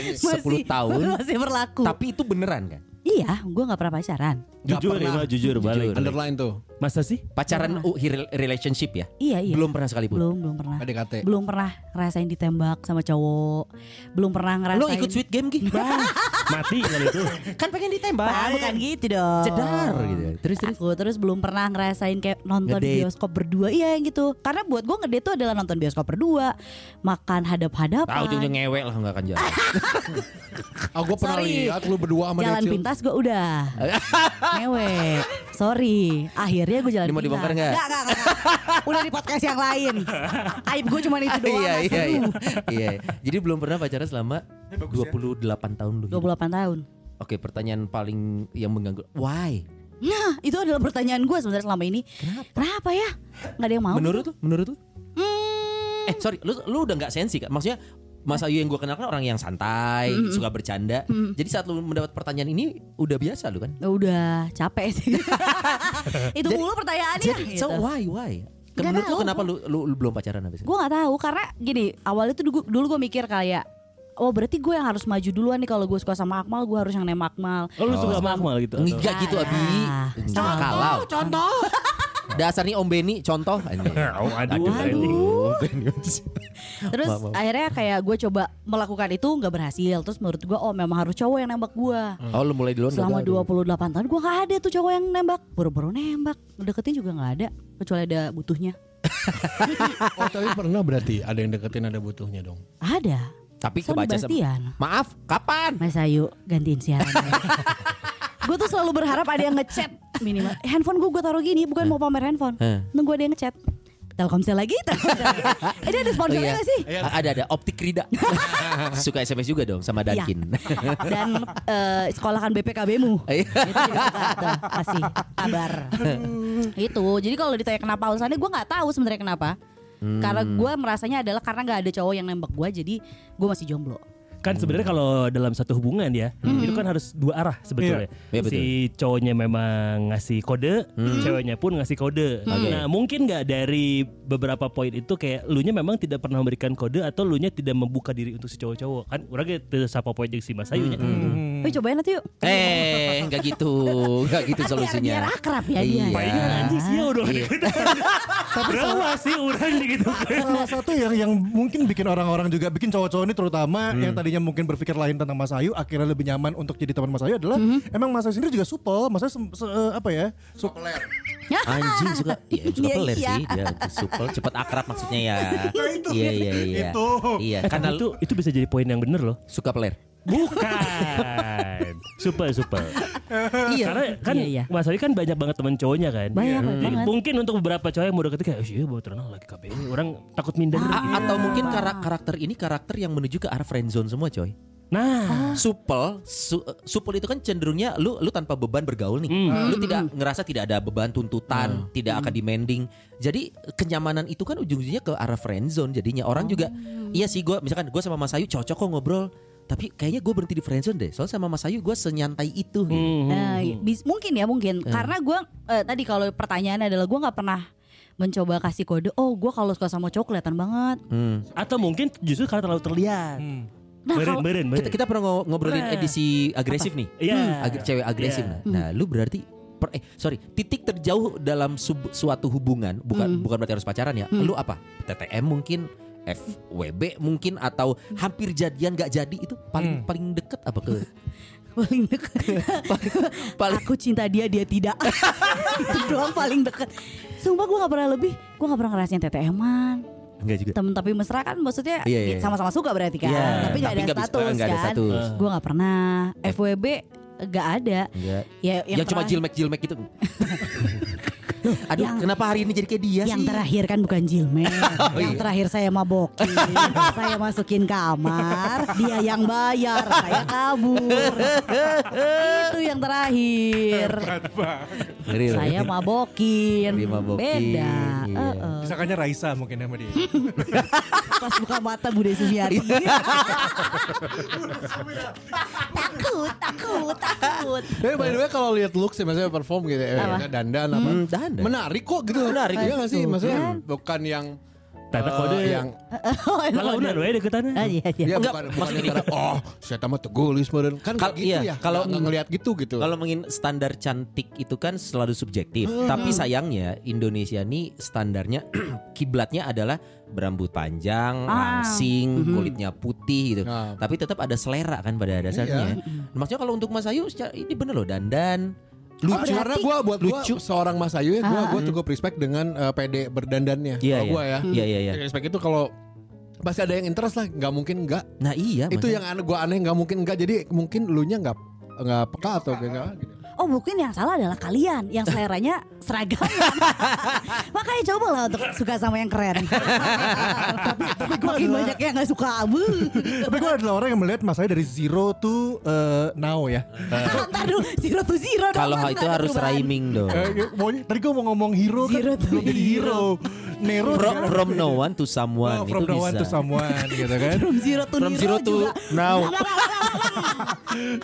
[SPEAKER 3] 10
[SPEAKER 6] masih,
[SPEAKER 3] tahun.
[SPEAKER 6] masih berlaku.
[SPEAKER 3] Tapi itu beneran kan?
[SPEAKER 6] Iya, gue nggak pernah pacaran.
[SPEAKER 5] Nggak
[SPEAKER 1] Jujur,
[SPEAKER 5] pernah.
[SPEAKER 1] Ima, jujur balik.
[SPEAKER 5] Underline tuh.
[SPEAKER 1] Masa sih?
[SPEAKER 3] Pacaran uh, hi- relationship ya?
[SPEAKER 6] Iya iya.
[SPEAKER 3] Belum pernah sekalipun.
[SPEAKER 6] belum belum pernah.
[SPEAKER 5] PDKT.
[SPEAKER 6] Belum pernah ngerasain ditembak sama cowok. Belum pernah ngerasain.
[SPEAKER 3] Lo ikut sweet game gitu.
[SPEAKER 1] Mati kali itu.
[SPEAKER 3] kan pengen ditembak.
[SPEAKER 6] Ah, bukan gitu dong.
[SPEAKER 3] Cedar gitu. Terus terus.
[SPEAKER 6] Aku terus belum pernah ngerasain kayak nonton
[SPEAKER 3] Ngedate.
[SPEAKER 6] bioskop berdua Iya gitu Karena buat gue ngedate itu adalah nonton bioskop berdua Makan
[SPEAKER 3] Ah,
[SPEAKER 6] hadap-hadapan
[SPEAKER 3] ujung-ujung ngewek lah nggak akan jalan.
[SPEAKER 5] Oh, gue pernah
[SPEAKER 6] Sorry.
[SPEAKER 5] lihat lu berdua sama
[SPEAKER 6] Jalan
[SPEAKER 5] Decil.
[SPEAKER 6] pintas gue udah Ngewe Sorry Akhirnya gue jalan
[SPEAKER 3] Ini mau
[SPEAKER 6] pintas
[SPEAKER 3] dibongkar nggak?
[SPEAKER 6] Nggak, nggak, nggak, nggak. Udah di podcast yang lain Aib gue cuma itu doang
[SPEAKER 3] iya,
[SPEAKER 6] nggak
[SPEAKER 3] iya,
[SPEAKER 6] seru.
[SPEAKER 3] iya, iya. Jadi belum pernah pacaran selama 28 tahun lu.
[SPEAKER 6] 28 tahun
[SPEAKER 3] Oke, pertanyaan paling yang mengganggu. Why?
[SPEAKER 6] Nah itu adalah pertanyaan gue sebenarnya selama ini Kenapa, ya? Nggak ada yang mau Hmm.
[SPEAKER 3] Menurut lu? Menurut lu? Eh, sorry, lu lu udah nggak sensi kan? Maksudnya Mas Ayu yang gue kenal kan orang yang santai,
[SPEAKER 6] Hmm.
[SPEAKER 3] suka bercanda. Jadi saat lu mendapat pertanyaan ini udah biasa lu kan?
[SPEAKER 6] Ya Udah capek sih Itu mulu pertanyaannya
[SPEAKER 3] Jadi, so
[SPEAKER 6] gitu.
[SPEAKER 3] why why?
[SPEAKER 6] Nggak
[SPEAKER 3] Menurut lu
[SPEAKER 6] tahu.
[SPEAKER 3] kenapa lu, lu, lu belum pacaran habis itu?
[SPEAKER 6] Gue nggak tahu karena gini awalnya tuh dulu, dulu gue mikir kayak oh berarti gue yang harus maju duluan nih kalau gue suka sama Akmal gue harus yang nembak Akmal.
[SPEAKER 1] Oh, lu suka sama Akmal gitu? atau?
[SPEAKER 3] Enggak gitu Abi.
[SPEAKER 6] Ah,
[SPEAKER 3] Enggak kalau.
[SPEAKER 6] Contoh.
[SPEAKER 3] Dasarnya Om Beni contoh.
[SPEAKER 1] Oh, aduh,
[SPEAKER 6] Waduh.
[SPEAKER 5] Serius.
[SPEAKER 6] Terus
[SPEAKER 3] Maaf, maaf.
[SPEAKER 6] akhirnya kayak gue coba melakukan itu nggak berhasil. Terus menurut gue oh memang harus cowok yang nembak gue.
[SPEAKER 3] Oh lu mulai duluan
[SPEAKER 6] Selama
[SPEAKER 3] gagal.
[SPEAKER 6] 28 tahun gue gak ada tuh cowok yang nembak. Boro-boro nembak. Deketin juga gak ada. Kecuali ada butuhnya.
[SPEAKER 5] Oh tapi pernah berarti ada yang deketin ada butuhnya dong.
[SPEAKER 6] Ada.
[SPEAKER 3] Tapi
[SPEAKER 6] Sony
[SPEAKER 3] kebaca sama-
[SPEAKER 6] Bastian.
[SPEAKER 3] Maaf, kapan?
[SPEAKER 6] Mas Ayu gantiin siaran. gue tuh selalu berharap ada yang ngechat minimal. Eh, handphone gue gue taruh gini
[SPEAKER 3] Eh.
[SPEAKER 6] bukan mau pamer handphone.
[SPEAKER 3] Hah.
[SPEAKER 6] Nunggu ada yang ngechat. Telkomsel lagi, Telkomsel lagi. Ini ada
[SPEAKER 3] Oh,
[SPEAKER 6] sponsornya
[SPEAKER 3] iya.
[SPEAKER 6] gak sih?
[SPEAKER 3] A- Ada ada optik Rida. Suka SMS juga dong sama
[SPEAKER 6] Iya.
[SPEAKER 3] Dankin.
[SPEAKER 6] Dan eh, sekolahkan BPKB-mu.
[SPEAKER 3] Iya.
[SPEAKER 6] itu juga suka tuh, kasih kabar. itu. Jadi kalau ditanya kenapa alasannya gue nggak tahu sebenarnya kenapa. Karena
[SPEAKER 3] Hmm.
[SPEAKER 6] gue merasanya adalah karena nggak ada cowok yang nembak gue jadi gue masih jomblo.
[SPEAKER 1] kan sebenarnya kalau dalam satu hubungan ya itu kan harus dua arah sebetulnya
[SPEAKER 3] Iya, betul.
[SPEAKER 1] si cowoknya memang ngasih kode ceweknya pun ngasih kode
[SPEAKER 3] Oke.
[SPEAKER 1] nah mungkin nggak dari beberapa poin itu kayak lu nya memang tidak pernah memberikan kode atau lu nya tidak membuka diri untuk si cowok-cowok kan orang gitu sapa poin yang si Mas Ayu nya
[SPEAKER 3] Hmm.
[SPEAKER 6] Eh cobain nanti yuk.
[SPEAKER 3] eh, enggak gitu. Enggak gitu
[SPEAKER 6] Biar-
[SPEAKER 3] solusinya.
[SPEAKER 6] Biar akrab ya
[SPEAKER 3] Iya.
[SPEAKER 6] dia.
[SPEAKER 1] Palingan anjing sih ya udah gitu. Berapa sih orang gitu
[SPEAKER 2] Salah satu yang yang mungkin bikin orang-orang juga bikin cowok-cowok ini terutama yang tadinya mungkin berpikir lain tentang Mas Ayu akhirnya lebih nyaman untuk jadi teman Mas Ayu adalah
[SPEAKER 6] Hmm.
[SPEAKER 2] emang Mas Ayu sendiri juga supel, Mas Ayu sem- se- eh, apa ya? Su-
[SPEAKER 3] Anjing suka ya, suka
[SPEAKER 6] Iya,
[SPEAKER 3] peler
[SPEAKER 6] iya.
[SPEAKER 3] sih. Ya, supel cepat akrab maksudnya ya.
[SPEAKER 2] itu.
[SPEAKER 3] Iya, iya, iya.
[SPEAKER 2] Itu.
[SPEAKER 3] Iya, karena
[SPEAKER 1] Karena Eh,
[SPEAKER 3] lu
[SPEAKER 1] itu itu bisa jadi poin yang bener loh
[SPEAKER 3] suka peler.
[SPEAKER 1] Bukan Super super
[SPEAKER 3] Iya.
[SPEAKER 1] Karena kan
[SPEAKER 6] Iya, iya.
[SPEAKER 1] Mas Ayu kan banyak banget teman cowoknya kan
[SPEAKER 6] Banyak
[SPEAKER 1] Jadi
[SPEAKER 6] banget.
[SPEAKER 1] mungkin untuk beberapa cowok yang mau deketin kayak, "Oh, iya bawa terkenal lagi KB ini orang takut minder. gitu.
[SPEAKER 3] A- atau
[SPEAKER 6] Iya.
[SPEAKER 3] mungkin kara- karakter ini karakter yang menuju ke arah friendzone semua, coy. Ah.
[SPEAKER 1] Nah,
[SPEAKER 3] supel su- supel itu kan cenderungnya lu lu tanpa beban bergaul nih lu tidak ngerasa tidak ada beban tuntutan tidak akan demanding jadi kenyamanan itu kan ujung-ujungnya ke arah friend zone jadinya orang juga iya sih gue misalkan gue sama Mas Ayu cocok kok ngobrol tapi kayaknya gue berhenti di friend zone deh soalnya sama Mas Ayu gue senyantai itu
[SPEAKER 1] Hmm.
[SPEAKER 6] Nah,
[SPEAKER 3] Hmm, iya.
[SPEAKER 6] bis- mungkin ya mungkin karena gue eh, tadi kalau pertanyaannya adalah gue nggak pernah mencoba kasih kode. Oh gue kalau suka sama cowok kelihatan banget.
[SPEAKER 3] Hmm.
[SPEAKER 1] atau mungkin justru karena terlalu terlihat.
[SPEAKER 2] hmm.
[SPEAKER 6] Nah,
[SPEAKER 1] Beren,
[SPEAKER 6] kalau-
[SPEAKER 1] beren, beren.
[SPEAKER 3] kita kita pernah ngo- ngobrolin
[SPEAKER 1] Pernah.
[SPEAKER 3] edisi agresif nih
[SPEAKER 1] Iya.
[SPEAKER 3] Ag- cewek agresif
[SPEAKER 1] Iya.
[SPEAKER 6] Hmm.
[SPEAKER 3] nah lu berarti per- eh sorry titik terjauh dalam sub- suatu hubungan
[SPEAKER 6] Hmm.
[SPEAKER 3] bukan bukan berarti harus pacaran ya lu apa TTM mungkin FWB mungkin atau hampir jadian gak jadi itu paling paling deket apa ke
[SPEAKER 6] paling dekat.
[SPEAKER 3] paling, paling
[SPEAKER 6] Aku cinta dia, dia tidak. Itu doang paling deket. Sumpah gue gak pernah lebih, gue gak pernah ngerasain TTM-an.
[SPEAKER 3] enggak juga
[SPEAKER 6] Temen tapi mesra kan maksudnya
[SPEAKER 3] Iya, iya, iya.
[SPEAKER 6] sama-sama suka berarti kan.
[SPEAKER 3] Iya,
[SPEAKER 6] Tapi gak ada
[SPEAKER 3] nggak bisa-
[SPEAKER 6] status
[SPEAKER 3] nggak ada
[SPEAKER 6] kan.
[SPEAKER 3] status
[SPEAKER 6] Gue gak pernah. FWB gak ada.
[SPEAKER 3] Enggak.
[SPEAKER 6] Ya,
[SPEAKER 3] yang, cuma
[SPEAKER 6] pernah-
[SPEAKER 3] jilmek-jilmek gitu aduh
[SPEAKER 6] yang-
[SPEAKER 3] kenapa hari ini jadi kayak dia
[SPEAKER 6] Yang
[SPEAKER 3] sih
[SPEAKER 6] terakhir kan bukan jilmen Yang
[SPEAKER 3] iya.
[SPEAKER 6] terakhir saya mabokin Saya masukin kamar Dia yang bayar Saya kabur Itu yang terakhir
[SPEAKER 3] Ngeri loh.
[SPEAKER 6] Saya mabokin
[SPEAKER 3] Dia mabokin,
[SPEAKER 6] Beda
[SPEAKER 3] iya.
[SPEAKER 6] Heeh.
[SPEAKER 2] Misalkannya Raisa mungkin ya sama dia.
[SPEAKER 6] Pas buka mata Bude Sumiati
[SPEAKER 3] Iya.
[SPEAKER 6] Takut Takut Takut
[SPEAKER 5] Tapi by the way kalau lihat looks ya maksudnya perform gitu ya,
[SPEAKER 6] Apa?
[SPEAKER 5] dandan apa.
[SPEAKER 3] Hmm, dandan.
[SPEAKER 5] Menarik kok gitu. Menarik. Iya gak sih?
[SPEAKER 6] Betul,
[SPEAKER 5] Maksudnya
[SPEAKER 6] kan?
[SPEAKER 5] bukan yang eh,
[SPEAKER 1] Tata
[SPEAKER 3] Eh,
[SPEAKER 1] kode ya?
[SPEAKER 5] yang
[SPEAKER 1] Kalau udah deh
[SPEAKER 6] Ah,
[SPEAKER 1] deketannya.
[SPEAKER 6] iya, iya.
[SPEAKER 5] ya, bukan, bukan antara, oh saya tamat tegulis modern kan
[SPEAKER 3] Kal-
[SPEAKER 5] kayak gitu
[SPEAKER 3] iya,
[SPEAKER 5] ya
[SPEAKER 3] kalau-
[SPEAKER 5] nggak ngelihat gitu gitu
[SPEAKER 3] Kalau mengin standar cantik itu kan selalu subjektif. Tapi sayangnya Indonesia nih standarnya kiblatnya adalah berambut panjang,
[SPEAKER 6] Ah.
[SPEAKER 3] langsing,
[SPEAKER 6] Mhm.
[SPEAKER 3] kulitnya putih gitu.
[SPEAKER 5] Nah.
[SPEAKER 3] Tapi tetap ada selera kan pada dasarnya. Hmm. Maksudnya kalau untuk Mas Ayu secara- ini bener loh dandan.
[SPEAKER 5] lucu
[SPEAKER 6] berarti-
[SPEAKER 5] karena gue buat lucu seorang Mas Ayu ya gue
[SPEAKER 6] Oh, Ah.
[SPEAKER 5] gue cukup respect dengan eh, pede berdandannya
[SPEAKER 3] Iya,
[SPEAKER 5] kalau gue ya
[SPEAKER 3] Iya iya iya.
[SPEAKER 5] respect itu kalau pasti ada yang interest lah nggak mungkin nggak
[SPEAKER 3] Nah iya.
[SPEAKER 5] itu
[SPEAKER 3] makanya.
[SPEAKER 5] yang aneh gue aneh nggak mungkin nggak jadi mungkin lu nya nggak nggak peka atau kayak nggak gitu.
[SPEAKER 6] Oh mungkin yang salah adalah kalian yang seleranya seragam. Makanya coba lah untuk suka sama yang keren. Makin
[SPEAKER 2] adalah-
[SPEAKER 6] banyak yang gak suka. Wuh.
[SPEAKER 3] Eh.
[SPEAKER 2] Tapi gue adalah orang yang melihat Mas Ayu dari zero to eh, now ya.
[SPEAKER 6] Ntar dulu zero to zero. dong,
[SPEAKER 3] Kalau
[SPEAKER 6] ntar
[SPEAKER 3] itu
[SPEAKER 6] ada
[SPEAKER 3] harus
[SPEAKER 6] perubahan.
[SPEAKER 3] rhyming dong.
[SPEAKER 2] Eh, ya, mau- tadi gue mau ngomong hero
[SPEAKER 6] Zero
[SPEAKER 2] kan
[SPEAKER 6] to
[SPEAKER 2] belum jadi hero. Nero
[SPEAKER 3] From,
[SPEAKER 2] sekarang.
[SPEAKER 3] from no one to someone
[SPEAKER 2] Oh,
[SPEAKER 3] itu
[SPEAKER 2] from the
[SPEAKER 3] bisa.
[SPEAKER 2] one to someone gitu kan.
[SPEAKER 6] From zero to
[SPEAKER 3] From zero to
[SPEAKER 6] juga.
[SPEAKER 3] now.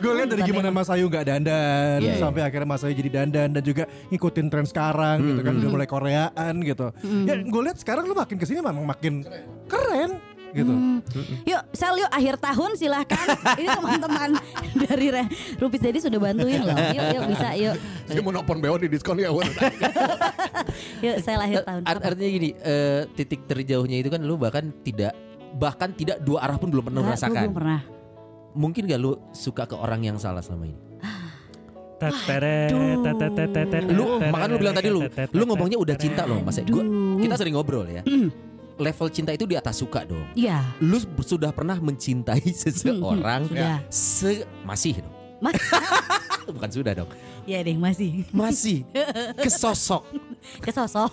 [SPEAKER 2] Gue lihat dari gimana Mas Ayu nggak dandan
[SPEAKER 3] Iya,
[SPEAKER 2] sampai akhirnya Mas Ayu jadi dandan dan juga ngikutin tren sekarang gitu kan udah mulai Koreaan gitu. Ya gue lihat sekarang lu makin kesini memang makin keren gitu.
[SPEAKER 6] Mm. Yuk, sel yuk akhir tahun silahkan. Ini teman-teman dari Re- Rupis jadi sudah bantuin loh. Yuk, yuk bisa yuk.
[SPEAKER 5] saya mau nelfon BO di diskon ya Wan.
[SPEAKER 6] Yuk, saya
[SPEAKER 3] Eh,
[SPEAKER 6] lahir tahun.
[SPEAKER 3] art- artinya gini, eh, titik terjauhnya itu kan lu bahkan tidak bahkan tidak dua arah pun belum pernah
[SPEAKER 6] Enggak, gua
[SPEAKER 3] merasakan.
[SPEAKER 6] Nah, belum pernah.
[SPEAKER 3] Mungkin gak lu suka ke orang yang salah selama ini? Lu makan lu bilang tadi lu lu ngomongnya udah cinta loh Mas. Gua, kita sering ngobrol ya. Level cinta itu di atas suka dong.
[SPEAKER 6] Iya,
[SPEAKER 3] Lu s- sudah pernah mencintai seseorang
[SPEAKER 6] sudah.
[SPEAKER 3] se masih dong.
[SPEAKER 6] Mas-
[SPEAKER 3] Bukan sudah dong.
[SPEAKER 6] Iya deh masih.
[SPEAKER 3] Masih kesosok.
[SPEAKER 6] Kesosok.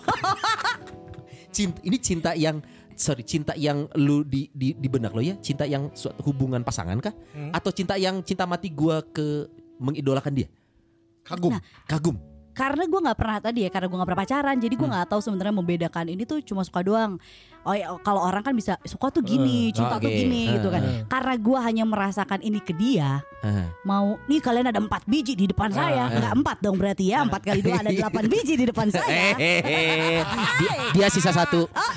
[SPEAKER 3] Cinta ini cinta yang sorry cinta yang lu di di, di benak lo ya cinta yang suatu hubungan pasangan kah atau cinta yang cinta mati gua ke mengidolakan dia Nah,
[SPEAKER 5] kagum
[SPEAKER 3] kagum
[SPEAKER 6] karena gue nggak pernah tadi ya karena gue nggak pernah pacaran jadi
[SPEAKER 3] Hmm.
[SPEAKER 6] gue nggak tahu sebenarnya membedakan ini tuh cuma suka doang oh ya, kalau orang kan bisa suka tuh gini cinta
[SPEAKER 3] Eh, ah,
[SPEAKER 6] tuh
[SPEAKER 3] oke.
[SPEAKER 6] gini gitu kan
[SPEAKER 3] Eh.
[SPEAKER 6] karena gue hanya merasakan ini ke dia
[SPEAKER 3] Ah.
[SPEAKER 6] mau nih kalian ada empat biji di depan saya
[SPEAKER 3] eh.
[SPEAKER 6] nggak empat dong berarti ya empat kali dua ada delapan biji di depan saya
[SPEAKER 3] Eh. Hehehe. dia, dia sisa satu.
[SPEAKER 1] Oh,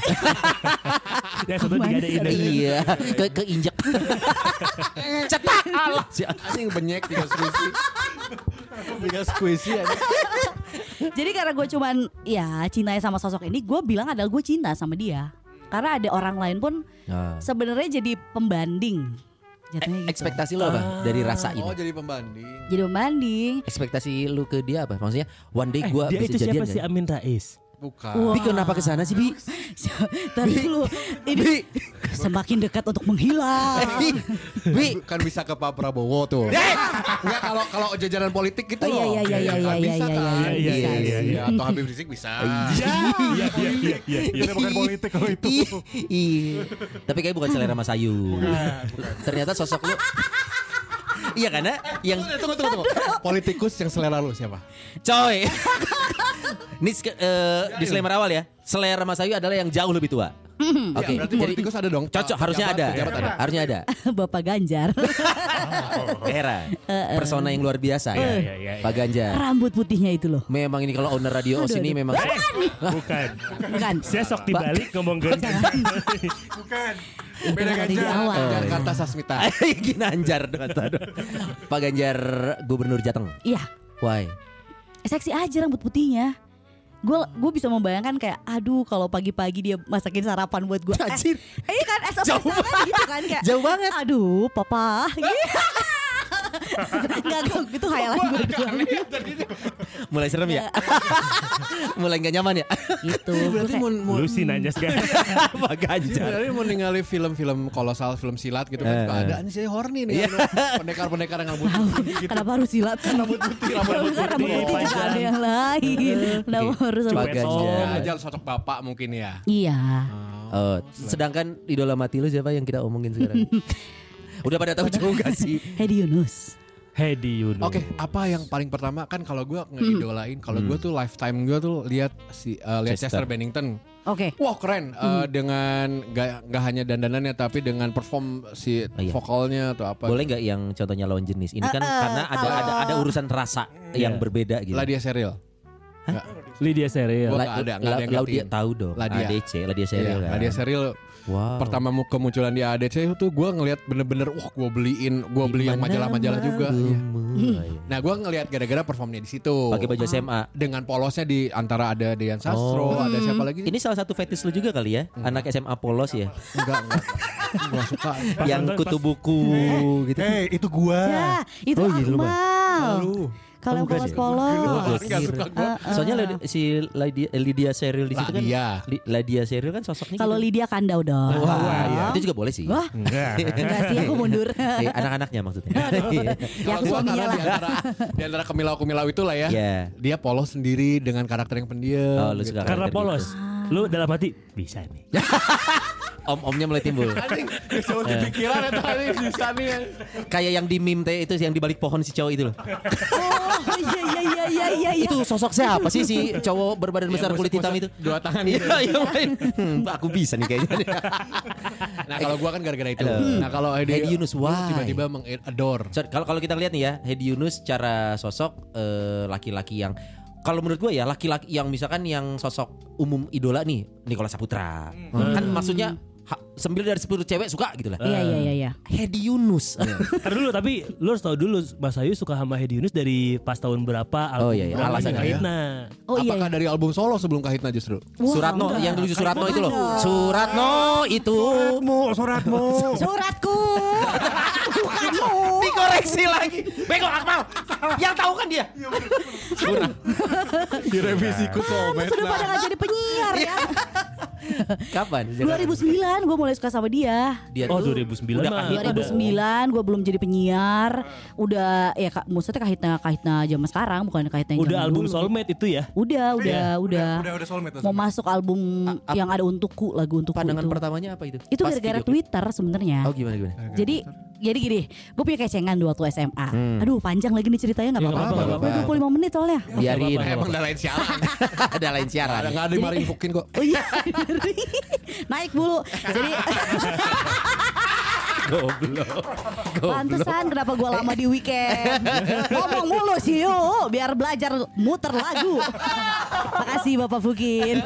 [SPEAKER 1] Ya satu tiga ada ini.
[SPEAKER 3] iya, ke keinjek. Cetak Allah.
[SPEAKER 5] anjing banyak tiga squishy tiga squishy anjing.
[SPEAKER 6] jadi karena gue cuman ya cintanya sama sosok ini gue bilang adalah gue cinta sama dia karena ada orang lain pun
[SPEAKER 3] Ya. Oh.
[SPEAKER 6] sebenarnya jadi pembanding jatuhnya gitu.
[SPEAKER 3] Eh, Ekspektasi lo apa dari rasa
[SPEAKER 5] oh
[SPEAKER 3] ini?
[SPEAKER 5] jadi pembanding
[SPEAKER 6] jadi pembanding
[SPEAKER 3] Ekspektasi lu ke dia apa? Maksudnya one day
[SPEAKER 1] Eh,
[SPEAKER 3] gua
[SPEAKER 1] dia itu
[SPEAKER 3] bisa
[SPEAKER 1] siapa
[SPEAKER 3] jadian.
[SPEAKER 1] sih
[SPEAKER 3] nggak?
[SPEAKER 1] Amin Rais?
[SPEAKER 5] bukan
[SPEAKER 6] Wah.
[SPEAKER 3] Bi kenapa ke sana sih Bi?
[SPEAKER 6] Ntar dulu ini semakin dekat untuk menghilang.
[SPEAKER 5] Bi kan bisa ke Pak Prabowo tuh. Enggak kalau kalau jajaran politik gitu
[SPEAKER 6] Oh, iya,
[SPEAKER 5] loh.
[SPEAKER 6] iya, iya,
[SPEAKER 5] Ya
[SPEAKER 6] iya,
[SPEAKER 5] kan,
[SPEAKER 6] iya,
[SPEAKER 5] bisa kan?
[SPEAKER 6] iya,
[SPEAKER 1] iya, iya,
[SPEAKER 5] Bisa,
[SPEAKER 1] iya,
[SPEAKER 5] iya. Atau Habib Rizik bisa.
[SPEAKER 1] Iya, iya, iya, iya, iya, iya.
[SPEAKER 2] Itu bukan politik kalau itu.
[SPEAKER 3] Ih, ih. Tapi kayaknya bukan selera Mas Ayu. Ternyata sosok lu Iya karena yang
[SPEAKER 5] Tunggu, tunggu, tunggu. Politikus yang selera lu siapa?
[SPEAKER 3] coy. Ini sek- eh, disclaimer awal ya. Selera Mas Ayu adalah yang jauh lebih tua.
[SPEAKER 1] Hmm.
[SPEAKER 5] Ya,
[SPEAKER 2] Iya,
[SPEAKER 3] Oke,
[SPEAKER 5] berarti
[SPEAKER 3] jadi
[SPEAKER 5] politikus ada dong.
[SPEAKER 3] cocok harusnya ada.
[SPEAKER 5] Pejabat, pejabat ada.
[SPEAKER 3] Harusnya ada.
[SPEAKER 6] Bapak Ganjar,
[SPEAKER 3] Era persona yang luar biasa ya.
[SPEAKER 1] Iya, iya, iya.
[SPEAKER 3] Pak Ganjar.
[SPEAKER 6] rambut putihnya itu loh.
[SPEAKER 3] Memang ini kalau owner radio Os
[SPEAKER 6] Aduh,
[SPEAKER 3] ini
[SPEAKER 6] aduh.
[SPEAKER 3] memang
[SPEAKER 1] Bukan.
[SPEAKER 6] Bukan.
[SPEAKER 1] Saya sok dibalik ngomong ganjar.
[SPEAKER 6] Itu yang di awal.
[SPEAKER 5] Jakarta Sasmita.
[SPEAKER 3] Ginanjar dong, aduh. Pak Ganjar Gubernur Jateng.
[SPEAKER 6] Iya,
[SPEAKER 3] Why?
[SPEAKER 6] seksi aja rambut putihnya. Gue gue bisa membayangkan kayak aduh kalau pagi-pagi dia masakin sarapan buat gue.
[SPEAKER 3] Anjir.
[SPEAKER 6] Eh, iya kan SOP
[SPEAKER 3] Jauh
[SPEAKER 6] sana gitu kan kayak.
[SPEAKER 3] Jauh banget.
[SPEAKER 6] Aduh, papa. Enggak, itu hayalan gue doang.
[SPEAKER 3] Mulai serem ya? Mulai nggak nyaman ya?
[SPEAKER 6] Gitu. Gua
[SPEAKER 5] Berarti
[SPEAKER 6] kayak,
[SPEAKER 5] mau mau
[SPEAKER 1] Lu sih nanya sekarang.
[SPEAKER 3] Pak Ganjar.
[SPEAKER 5] Jadi Iya, mau ningali film-film kolosal, film silat gitu kan suka ada nih saya horny nih pendekar-pendekar yang rambut
[SPEAKER 6] Kenapa harus silat? Rambut putih, rambut putih. Rambut putih juga
[SPEAKER 1] panjang.
[SPEAKER 6] ada yang lain. Kenapa harus
[SPEAKER 3] Pak
[SPEAKER 6] rambut
[SPEAKER 1] Cuek.
[SPEAKER 5] Ya,
[SPEAKER 3] Ganjar.
[SPEAKER 5] aja sosok bapak mungkin ya.
[SPEAKER 6] Iya.
[SPEAKER 3] Oh, sedangkan idola mati lu siapa yang kita omongin sekarang? Udah pada tahu jauh gak sih?
[SPEAKER 6] Hedi Yunus.
[SPEAKER 1] Hedi Yunus.
[SPEAKER 5] Oke, apa yang paling pertama kan kalau gue
[SPEAKER 3] Hmm.
[SPEAKER 5] ngeidolain, kalau gue tuh lifetime gue tuh lihat si eh, lihat
[SPEAKER 3] Chester. Hmm.
[SPEAKER 5] Chester Bennington.
[SPEAKER 6] Oke.
[SPEAKER 5] Wah keren eh, dengan gak, gak hanya dandanannya tapi dengan perform si
[SPEAKER 3] iya.
[SPEAKER 5] vokalnya atau apa.
[SPEAKER 3] Boleh nggak yang
[SPEAKER 6] Eh,
[SPEAKER 5] Iya.
[SPEAKER 3] contohnya lawan jenis? Ini kan karena ada ada ada urusan rasa yang berbeda gitu.
[SPEAKER 5] Lah dia serial.
[SPEAKER 1] Lydia Serial.
[SPEAKER 5] Gua
[SPEAKER 3] La-
[SPEAKER 5] nggak ada, nggak
[SPEAKER 3] La-
[SPEAKER 5] ada yang
[SPEAKER 3] Laudia
[SPEAKER 5] gantiin.
[SPEAKER 3] tahu dong.
[SPEAKER 5] Ladia.
[SPEAKER 3] ADC, Ladia serial.
[SPEAKER 5] Iya,
[SPEAKER 3] kan?
[SPEAKER 5] Nadia Seril
[SPEAKER 3] Wow.
[SPEAKER 5] pertama mu- kemunculan di ADC itu gue ngelihat bener-bener wah gue beliin gue beli yang
[SPEAKER 3] Dimana
[SPEAKER 5] majalah-majalah juga Iya.
[SPEAKER 3] malumu. Oh, iya.
[SPEAKER 5] nah gue ngelihat gara-gara performnya di situ
[SPEAKER 3] Pakai baju SMA.
[SPEAKER 5] dengan polosnya di antara ada Dean Sastro ada siapa lagi
[SPEAKER 3] Ini salah satu fetish lu juga kali ya, anak SMA polos ya,
[SPEAKER 5] enggak enggak gue suka Eh,
[SPEAKER 3] yang
[SPEAKER 1] nonton,
[SPEAKER 3] kutu buku gitu.
[SPEAKER 2] Hey, Eh, itu gua.
[SPEAKER 6] Ya, itu
[SPEAKER 3] Oh, iya, lu, Bang.
[SPEAKER 6] Akmal.
[SPEAKER 5] Lu.
[SPEAKER 6] Kalau yang
[SPEAKER 3] Bukan ya? Oh,
[SPEAKER 6] polos-polos.
[SPEAKER 3] gua kira. Soalnya Lydia- si Lydia, Lydia Seril di situ kan,
[SPEAKER 5] Ladia.
[SPEAKER 3] Li- Lydia Seril kan sosoknya.
[SPEAKER 6] Kalau
[SPEAKER 3] gitu.
[SPEAKER 6] Lydia kandau dong.
[SPEAKER 3] Wah, iya. itu juga boleh sih.
[SPEAKER 6] Wah,
[SPEAKER 1] Ya.
[SPEAKER 6] enggak sih aku mundur.
[SPEAKER 3] Eh, anak-anaknya maksudnya.
[SPEAKER 6] ya aku
[SPEAKER 5] Kalau gua
[SPEAKER 6] suaminya
[SPEAKER 5] karena
[SPEAKER 6] lah.
[SPEAKER 5] di antara di antara kemilau kemilau itulah ya
[SPEAKER 3] Iya.
[SPEAKER 5] dia polos sendiri dengan karakter yang pendiam
[SPEAKER 3] Oh, lu suka
[SPEAKER 1] Karena
[SPEAKER 3] karakter
[SPEAKER 1] polos.
[SPEAKER 3] gitu.
[SPEAKER 1] Lu dalam hati bisa nih.
[SPEAKER 3] Om-omnya mulai timbul.
[SPEAKER 5] anjing jauh
[SPEAKER 3] Iya.
[SPEAKER 5] di pikiran itu tadi bisa nih
[SPEAKER 3] Kayak yang di meme teh itu yang di balik pohon si cowok itu loh.
[SPEAKER 6] Oh, iya iya iya iya iya. iya.
[SPEAKER 3] Itu sosok siapa sih si cowok berbadan besar kulit hitam itu?
[SPEAKER 5] dua tangan
[SPEAKER 6] gitu.
[SPEAKER 5] gitu.
[SPEAKER 3] Iya, iya. main. Hmm, Aku bisa nih kayaknya.
[SPEAKER 5] nah kalau gue kan gara-gara itu
[SPEAKER 3] Halo.
[SPEAKER 5] nah kalau
[SPEAKER 3] Hedi
[SPEAKER 5] Hedi
[SPEAKER 3] Yunus, why?
[SPEAKER 5] tiba-tiba mengadore
[SPEAKER 3] So, Kalau kalau kita lihat nih ya, Hedi Yunus secara sosok eh, laki-laki yang kalau menurut gue ya laki-laki yang misalkan yang sosok umum idola nih Nikola Saputra.
[SPEAKER 6] Hmm.
[SPEAKER 3] Kan maksudnya ha- sembilan dari 10 cewek suka gitu lah.
[SPEAKER 6] Iya iya iya iya.
[SPEAKER 3] Hedi Yunus.
[SPEAKER 1] Ntar dulu tapi lu harus tahu dulu Mas Ayu suka sama Hedi Yunus dari pas tahun berapa album
[SPEAKER 3] Oh, iya, iya.
[SPEAKER 1] berapa,
[SPEAKER 3] Alasannya
[SPEAKER 1] Kahitna.
[SPEAKER 5] ya.
[SPEAKER 6] Oh iya.
[SPEAKER 5] Apakah dari album solo sebelum Kahitna justru?
[SPEAKER 6] Wah,
[SPEAKER 3] Suratno
[SPEAKER 6] enggak.
[SPEAKER 3] yang tujuh Suratno itu loh.
[SPEAKER 6] Enggak.
[SPEAKER 3] Suratno itu
[SPEAKER 2] Suratmu, suratmu.
[SPEAKER 6] iya. Suratku. Bukanmu.
[SPEAKER 3] dikoreksi lagi. Bego Akmal. Yang tahu kan dia.
[SPEAKER 5] Direvisi ku
[SPEAKER 6] Kamu sudah pada gak jadi penyiar ya.
[SPEAKER 3] Kapan?
[SPEAKER 6] 2009 gue mulai suka sama dia.
[SPEAKER 3] Dia
[SPEAKER 1] Oh,
[SPEAKER 3] tuh
[SPEAKER 1] 2009
[SPEAKER 3] udah
[SPEAKER 1] mah.
[SPEAKER 3] kahit udah.
[SPEAKER 6] 2009 gue belum jadi penyiar. Udah ya Kak, maksudnya kahitna kahitna zaman sekarang bukan kahitna yang
[SPEAKER 1] Udah
[SPEAKER 6] zaman
[SPEAKER 1] album
[SPEAKER 6] dulu.
[SPEAKER 1] soulmate itu ya.
[SPEAKER 6] Udah,
[SPEAKER 3] Iya.
[SPEAKER 6] udah, udah.
[SPEAKER 2] Udah udah soulmate
[SPEAKER 6] Mau masuk album
[SPEAKER 3] A- ap-
[SPEAKER 6] yang ada untukku lagu untukku
[SPEAKER 3] Pandangan
[SPEAKER 6] itu.
[SPEAKER 3] pertamanya apa itu?
[SPEAKER 6] itu
[SPEAKER 3] Pas
[SPEAKER 6] gara-gara
[SPEAKER 3] video klip.
[SPEAKER 6] Twitter sebenarnya.
[SPEAKER 3] Oh gimana gimana?
[SPEAKER 6] Jadi jadi gini, gue punya kecengan dua waktu SMA. Aduh panjang lagi nih ceritanya nggak
[SPEAKER 1] Ya,
[SPEAKER 6] apa-apa.
[SPEAKER 1] nggak
[SPEAKER 3] apa-apa, Hmm. Iya, nggak
[SPEAKER 6] Udah 25 menit soalnya.
[SPEAKER 3] Biarin.
[SPEAKER 5] Emang udah Nah, lain sialan.
[SPEAKER 3] Ada lain siaran.
[SPEAKER 5] Ada nggak ada mari infokin kok.
[SPEAKER 6] Oh iya, bener nih. naik bulu. Jadi pantesan kenapa gue lama di weekend. Ngomong mulu sih yuk, biar belajar muter lagu. Makasih Bapak Fukin.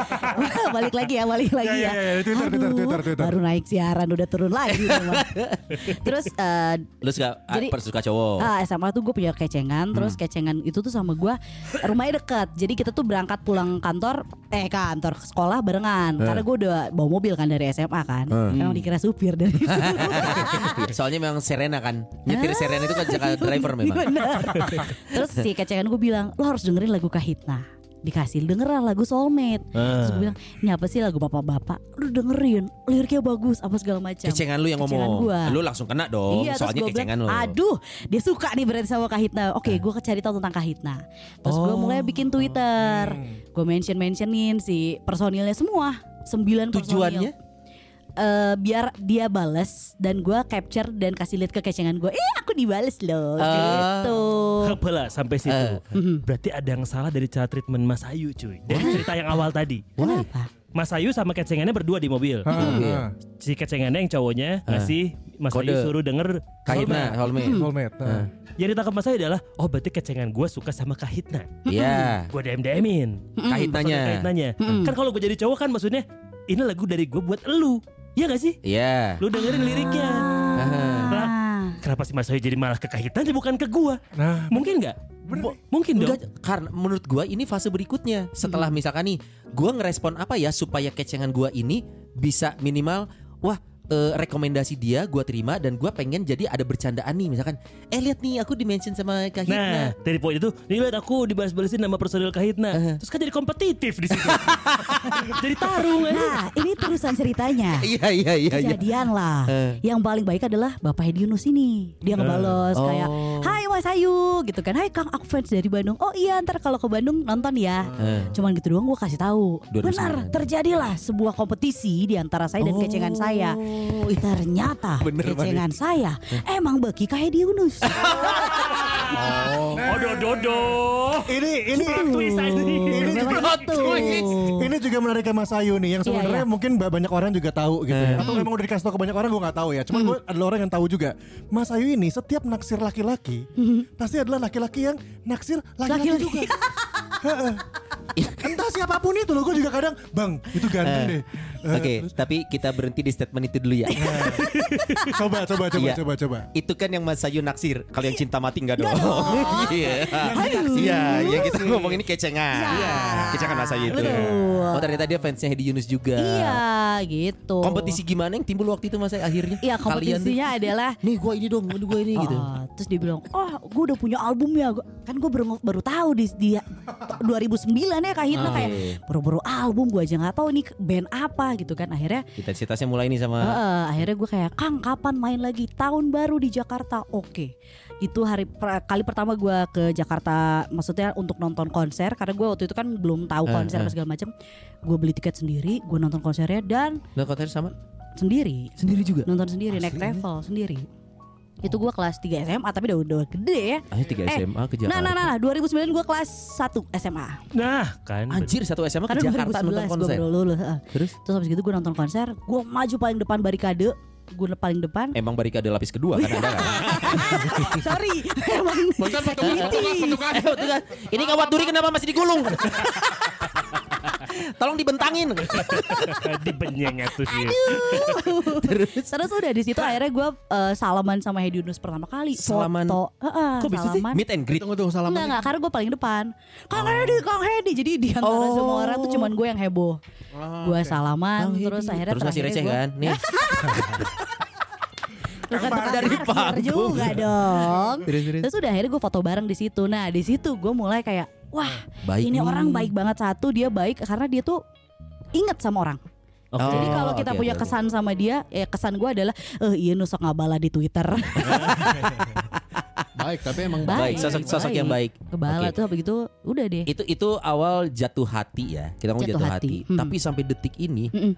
[SPEAKER 6] balik lagi ya, balik lagi
[SPEAKER 2] Ya,
[SPEAKER 6] ya.
[SPEAKER 2] ya, ya, ya, Twitter, Twitter,
[SPEAKER 6] Aduh,
[SPEAKER 2] Twitter, Twitter.
[SPEAKER 6] Baru naik siaran udah turun lagi. memang. Terus eh,
[SPEAKER 3] Lu suka ah,
[SPEAKER 6] Jadi-
[SPEAKER 3] persuka cowok.
[SPEAKER 6] Ah, SMA tuh gue punya kecengan,
[SPEAKER 3] Hmm.
[SPEAKER 6] terus kecengan itu tuh sama gue rumahnya dekat. Jadi kita tuh berangkat pulang kantor, eh kantor ke sekolah barengan.
[SPEAKER 3] Eh.
[SPEAKER 6] Karena gue udah bawa mobil kan dari SMA kan.
[SPEAKER 3] Hmm.
[SPEAKER 6] Emang dikira supir dari dulu. ah,
[SPEAKER 3] Soalnya memang Serena kan. Nyetir Serena itu kan jaga driver memang.
[SPEAKER 6] Bener. Terus si kecengan gue bilang, lo harus dengerin lagu Kahitna dikasih denger lah lagu soulmate
[SPEAKER 3] Eh.
[SPEAKER 6] Terus gue bilang Ini apa sih lagu bapak-bapak Lu dengerin Liriknya bagus Apa segala macam
[SPEAKER 3] Kecengan lu yang
[SPEAKER 6] Kecengan
[SPEAKER 3] ngomong.
[SPEAKER 6] gua.
[SPEAKER 3] Lu langsung kena dong.
[SPEAKER 6] Iya,
[SPEAKER 3] Oh,
[SPEAKER 6] terus
[SPEAKER 3] Soalnya
[SPEAKER 6] gua
[SPEAKER 3] kecengan Nah. lu.
[SPEAKER 6] bilang, Aduh, dia suka nih berarti sama Kahitna. Oke, gua gue cari tahu tentang Kahitna. Terus gua gue
[SPEAKER 3] Oh.
[SPEAKER 6] mulai bikin Twitter. Gue mention-mentionin si personilnya semua. Sembilan
[SPEAKER 3] Tujuannya?
[SPEAKER 6] personil. Eh, biar dia bales dan gua capture dan kasih lihat ke kecengan gue. Eh, aku dibales loh.
[SPEAKER 3] Ah.
[SPEAKER 6] Gitu.
[SPEAKER 1] Apalah sampai situ.
[SPEAKER 3] Eh.
[SPEAKER 1] Berarti ada yang salah dari cara treatment Mas Ayu cuy. Dari cerita yang awal tadi.
[SPEAKER 6] Kenapa?
[SPEAKER 1] Mas Ayu sama kecengannya berdua di mobil.
[SPEAKER 6] Iya.
[SPEAKER 1] Si kecengannya yang cowoknya ngasih Mas Ayu
[SPEAKER 3] Eh. Kode.
[SPEAKER 1] suruh denger Soulmate.
[SPEAKER 3] Kahitna, Holme.
[SPEAKER 6] "Hmm,
[SPEAKER 2] Soulmate. nah.
[SPEAKER 1] Yang ditangkap Mas Ayu adalah oh berarti kecengan gue suka sama Kahitna.
[SPEAKER 6] hmm."
[SPEAKER 3] Iya.
[SPEAKER 1] Gue DM-DM-in.
[SPEAKER 3] Kahitnanya.
[SPEAKER 1] Kahitnanya. Kan kalau gue jadi cowok kan maksudnya ini lagu dari gue buat elu. Iya gak sih?
[SPEAKER 3] Iya.
[SPEAKER 1] Lu dengerin liriknya. Nah,
[SPEAKER 6] Ah.
[SPEAKER 1] Kenapa sih Mas Ayu jadi malah ke Kahitan sih bukan ke gua?
[SPEAKER 2] Nah,
[SPEAKER 1] Mungkin nggak? Bo- Mungkin dong.
[SPEAKER 3] Enggak, karena menurut gua ini fase berikutnya. Setelah misalkan nih, gua ngerespon apa ya supaya kecengan gua ini bisa minimal wah eh, rekomendasi dia gua terima dan gua pengen jadi ada bercandaan nih misalkan eh lihat nih aku dimention sama Kak
[SPEAKER 1] Nah,
[SPEAKER 3] Hitna.
[SPEAKER 1] dari poin itu, nih lihat aku dibalas-balasin nama personil Kahitna. Terus kan jadi kompetitif di situ. jadi tarung ya.
[SPEAKER 6] Nah, ini terusan ceritanya.
[SPEAKER 3] Iya iya iya iya.
[SPEAKER 6] kejadian lah. Yang paling baik adalah Bapak Hedi Yunus ini. Dia ngebalas
[SPEAKER 3] Oh.
[SPEAKER 6] kayak, "Hai Mas Ayu" gitu kan. "Hai Kang, aku fans dari Bandung." "Oh iya, ntar kalau ke Bandung nonton ya."
[SPEAKER 3] Eh.
[SPEAKER 6] Cuman gitu doang gue kasih tahu.
[SPEAKER 3] 2009.
[SPEAKER 6] Benar, terjadilah sebuah kompetisi di antara saya dan kecengan saya.
[SPEAKER 3] Oh.
[SPEAKER 6] Ternyata kecengan saya
[SPEAKER 3] Eh.
[SPEAKER 6] emang bagi Kak Hedi Yunus.
[SPEAKER 5] Oh.
[SPEAKER 1] Odo dodo.
[SPEAKER 2] Ini ini
[SPEAKER 1] Plot twist anjing.
[SPEAKER 2] Ini juga
[SPEAKER 6] Memang gitu.
[SPEAKER 2] Ini juga menarik ke Mas Ayu nih yang sebenarnya
[SPEAKER 6] Iya, iya.
[SPEAKER 2] mungkin ba- banyak orang juga tahu gitu ya. Atau memang udah dikasih tahu ke banyak orang gue nggak tahu ya. Cuman gue adalah orang yang tahu juga. Mas Ayu ini setiap naksir laki-laki pasti adalah laki-laki yang naksir laki-laki
[SPEAKER 6] Laki-laki.
[SPEAKER 2] juga. Entah siapapun itu loh, gue juga kadang, bang itu ganteng deh. Eh,
[SPEAKER 7] Oke, tapi kita berhenti di statement itu dulu ya.
[SPEAKER 2] Coba, coba, coba,
[SPEAKER 7] Iya.
[SPEAKER 2] coba, coba.
[SPEAKER 7] itu kan yang Mas Ayu naksir. Kalau yang cinta mati enggak dong. Iya. Iya, yang kita ngomong ini kecengan.
[SPEAKER 6] Iya.
[SPEAKER 7] Kecengan Mas Ayu itu.
[SPEAKER 6] Betul.
[SPEAKER 3] Oh ternyata dia fansnya Hedi Yunus juga.
[SPEAKER 6] Iya gitu.
[SPEAKER 3] Kompetisi gimana yang timbul waktu itu mas Ay, akhirnya?
[SPEAKER 6] Iya kompetisinya
[SPEAKER 3] Kalian
[SPEAKER 6] adalah
[SPEAKER 3] nih, nih gue ini dong, aduh gue ini gitu.
[SPEAKER 6] Oh, terus dia bilang, oh gue udah punya album ya, Gua- kan gue baru baru tahu di, di 2009 ya kak Hitna
[SPEAKER 3] Ah,
[SPEAKER 6] kayak
[SPEAKER 3] iya, iya.
[SPEAKER 6] baru-baru album gue aja nggak tahu ini band apa gitu kan akhirnya
[SPEAKER 7] Intensitasnya mulai nih
[SPEAKER 3] Ah.
[SPEAKER 7] sama
[SPEAKER 6] Heeh, akhirnya gue kayak Kang kapan main lagi tahun baru di Jakarta oke itu hari per- kali pertama gue ke Jakarta maksudnya untuk nonton konser karena gue waktu itu kan belum tahu
[SPEAKER 3] Ah,
[SPEAKER 6] konser apa segala macam gue beli tiket sendiri gue nonton konsernya dan
[SPEAKER 3] Nah konten sama
[SPEAKER 6] sendiri
[SPEAKER 3] Ah, sendiri Oh. juga.
[SPEAKER 6] nonton sendiri naik travel sendiri itu gue kelas 3 SMA tapi udah udah gede ya
[SPEAKER 3] Akhirnya tiga
[SPEAKER 6] Eh,
[SPEAKER 3] SMA ke
[SPEAKER 6] nah
[SPEAKER 3] Jakarta.
[SPEAKER 6] nah nah 2009 gue kelas 1 SMA
[SPEAKER 1] Nah kan.
[SPEAKER 3] Anjir satu SMA ke
[SPEAKER 6] karena
[SPEAKER 3] Jakarta nonton
[SPEAKER 6] 2011 gue
[SPEAKER 3] konser.
[SPEAKER 6] baru lulus heeh.
[SPEAKER 3] Terus
[SPEAKER 6] terus habis itu gue nonton konser gue maju paling depan barikade gue paling depan
[SPEAKER 3] Eh.
[SPEAKER 7] emang barikade lapis kedua kan ada kan?
[SPEAKER 6] sorry emang
[SPEAKER 5] Bentar petugas, petugas, petugas.
[SPEAKER 3] Eh, waktu itu kan, ini kawat duri kenapa masih digulung? Tolong dibentangin.
[SPEAKER 1] Di penyengat tuh sih.
[SPEAKER 6] terus terus udah di situ akhirnya gue eh, salaman sama Hedi Yunus pertama kali
[SPEAKER 3] Salaman?
[SPEAKER 6] foto Heeh,
[SPEAKER 3] Kok bisa sih? gitu?
[SPEAKER 6] salaman
[SPEAKER 7] Meet and greet.
[SPEAKER 5] Tunggu, tunggu, salam.
[SPEAKER 6] Enggak, enggak, karena gue paling depan Kang
[SPEAKER 3] Oh.
[SPEAKER 6] Hedi, Kang Hedi Jadi di antara semua orang tuh cuman gue yang heboh Gue
[SPEAKER 3] Oh,
[SPEAKER 6] salaman,
[SPEAKER 3] Kang
[SPEAKER 6] terus
[SPEAKER 3] Hedi.
[SPEAKER 6] akhirnya
[SPEAKER 3] Terus ngasih
[SPEAKER 6] terakhirnya
[SPEAKER 3] receh
[SPEAKER 6] gua-
[SPEAKER 3] kan? Nih.
[SPEAKER 6] Lu kan tukang
[SPEAKER 3] dari
[SPEAKER 6] narsir
[SPEAKER 3] panggung.
[SPEAKER 6] juga dong. Terus udah akhirnya gue foto bareng di situ. Nah di situ gue mulai kayak wah
[SPEAKER 5] Ah,
[SPEAKER 3] Baik
[SPEAKER 6] ini
[SPEAKER 3] nih.
[SPEAKER 6] orang baik banget satu dia baik karena dia tuh inget sama orang.
[SPEAKER 1] Oke.
[SPEAKER 6] Jadi kalau kita
[SPEAKER 3] Oh, oke,
[SPEAKER 6] punya
[SPEAKER 3] oke, oke.
[SPEAKER 6] kesan sama dia, ya kesan gue adalah eh iya nusok ngabala di Twitter.
[SPEAKER 5] Baik, tapi emang
[SPEAKER 6] Baik,
[SPEAKER 3] Baik, sosok sosok yang baik.
[SPEAKER 6] Kebala
[SPEAKER 3] Oke.
[SPEAKER 6] tuh habis itu udah deh.
[SPEAKER 3] Itu itu awal jatuh hati ya. Kita ngomong
[SPEAKER 6] Jatuh
[SPEAKER 3] jatuh,
[SPEAKER 6] hati.
[SPEAKER 3] hati.
[SPEAKER 6] Hmm.
[SPEAKER 3] Tapi sampai detik ini
[SPEAKER 6] Mm-mm.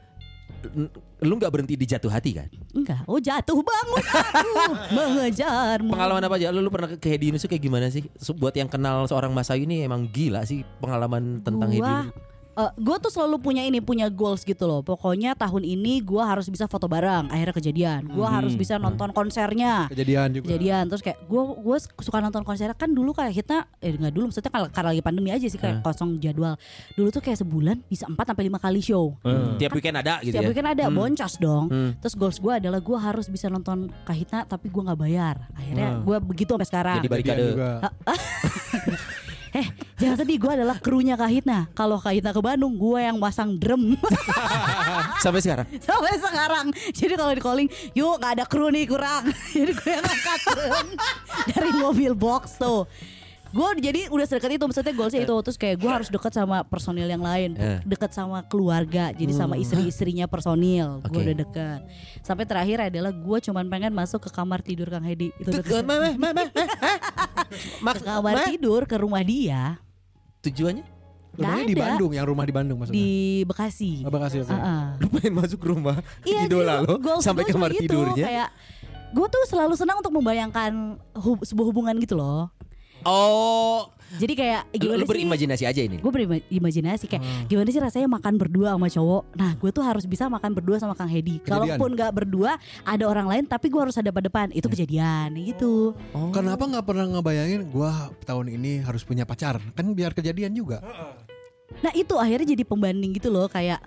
[SPEAKER 3] n- lu nggak berhenti di jatuh hati kan?
[SPEAKER 6] Enggak, oh jatuh bangun jatuh mengejarmu.
[SPEAKER 3] Pengalaman apa aja? Lu, lu pernah ke, ke Hedi Yunus tuh kayak gimana sih? Se- Buat yang kenal seorang Mas Ayu ini emang gila sih pengalaman tentang Hedi
[SPEAKER 6] gua,
[SPEAKER 3] Yunus.
[SPEAKER 6] gue tuh selalu punya ini punya goals gitu loh pokoknya tahun ini gua harus bisa foto bareng akhirnya kejadian gua
[SPEAKER 3] Hmm,
[SPEAKER 6] harus bisa nonton konsernya
[SPEAKER 5] kejadian
[SPEAKER 3] Gitu.
[SPEAKER 5] juga.
[SPEAKER 6] kejadian terus kayak gue gue suka nonton konser kan dulu kayak kita eh nggak dulu maksudnya kalau karena lagi pandemi aja sih
[SPEAKER 3] Eh.
[SPEAKER 6] kayak kosong jadwal dulu tuh kayak sebulan bisa 4 sampai lima kali show
[SPEAKER 3] Tiap weekend ada gitu
[SPEAKER 6] setiap
[SPEAKER 3] ya.
[SPEAKER 6] weekend ada boncos dong
[SPEAKER 3] Hmm.
[SPEAKER 6] terus goals gue adalah gua harus bisa nonton kahitna tapi gua nggak bayar akhirnya gua begitu sampai sekarang
[SPEAKER 3] Hmm. Jadi barikade.
[SPEAKER 6] Eh, jangan sedih, gue adalah krunya Kahitna. Kalau Kahitna ke Bandung, gue yang masang drum
[SPEAKER 3] Ah, Sampai sekarang.
[SPEAKER 6] sampai sekarang. Jadi kalau di calling, yuk gak ada kru nih kurang. jadi gue yang angkat drum dari mobil box tuh. Gue jadi udah sedekat itu maksudnya goalsnya itu terus kayak gue harus deket sama personil yang lain,
[SPEAKER 3] Eh.
[SPEAKER 6] deket sama keluarga, jadi sama istri-istrinya personil, gue
[SPEAKER 3] Oke.
[SPEAKER 6] udah deket. Sampai terakhir adalah gue cuman pengen masuk ke kamar tidur Kang Hedi itu udah
[SPEAKER 3] Tuh, ma,
[SPEAKER 6] deket.
[SPEAKER 3] ma, ma, ma, eh, eh. Mak-
[SPEAKER 6] Ke kamar
[SPEAKER 3] ma-
[SPEAKER 6] tidur ke rumah dia
[SPEAKER 3] tujuannya
[SPEAKER 5] Rumahnya di
[SPEAKER 6] Nggak ada.
[SPEAKER 5] Bandung, yang rumah di Bandung maksudnya.
[SPEAKER 6] di Ah. Bekasi.
[SPEAKER 5] Oh, Bekasi, oke.
[SPEAKER 6] Heeh.
[SPEAKER 3] lu pengen masuk rumah
[SPEAKER 6] Iya,
[SPEAKER 3] idola
[SPEAKER 6] jadi
[SPEAKER 3] lo
[SPEAKER 6] goals
[SPEAKER 3] sampai
[SPEAKER 6] gua cuma
[SPEAKER 3] kamar
[SPEAKER 6] itu,
[SPEAKER 3] tidurnya
[SPEAKER 6] Kayak gue tuh selalu senang untuk membayangkan hub- sebuah hubungan gitu loh.
[SPEAKER 3] oh
[SPEAKER 6] Jadi kayak
[SPEAKER 3] lu, Hmm.
[SPEAKER 6] gimana
[SPEAKER 3] lu
[SPEAKER 6] sih?
[SPEAKER 3] berimajinasi aja ini
[SPEAKER 6] Gue berimajinasi kayak gimana sih rasanya makan berdua sama cowok. Nah gue tuh harus bisa makan berdua sama Kang Hedi.
[SPEAKER 5] Kejadian.
[SPEAKER 6] Kalaupun nggak berdua ada orang lain tapi gue harus ada pada depan.
[SPEAKER 3] Iya.
[SPEAKER 6] Itu kejadian gitu.
[SPEAKER 5] Kenapa nggak pernah ngebayangin gua tahun ini harus punya pacar? Kan biar kejadian juga.
[SPEAKER 6] Nah itu akhirnya jadi pembanding gitu loh kayak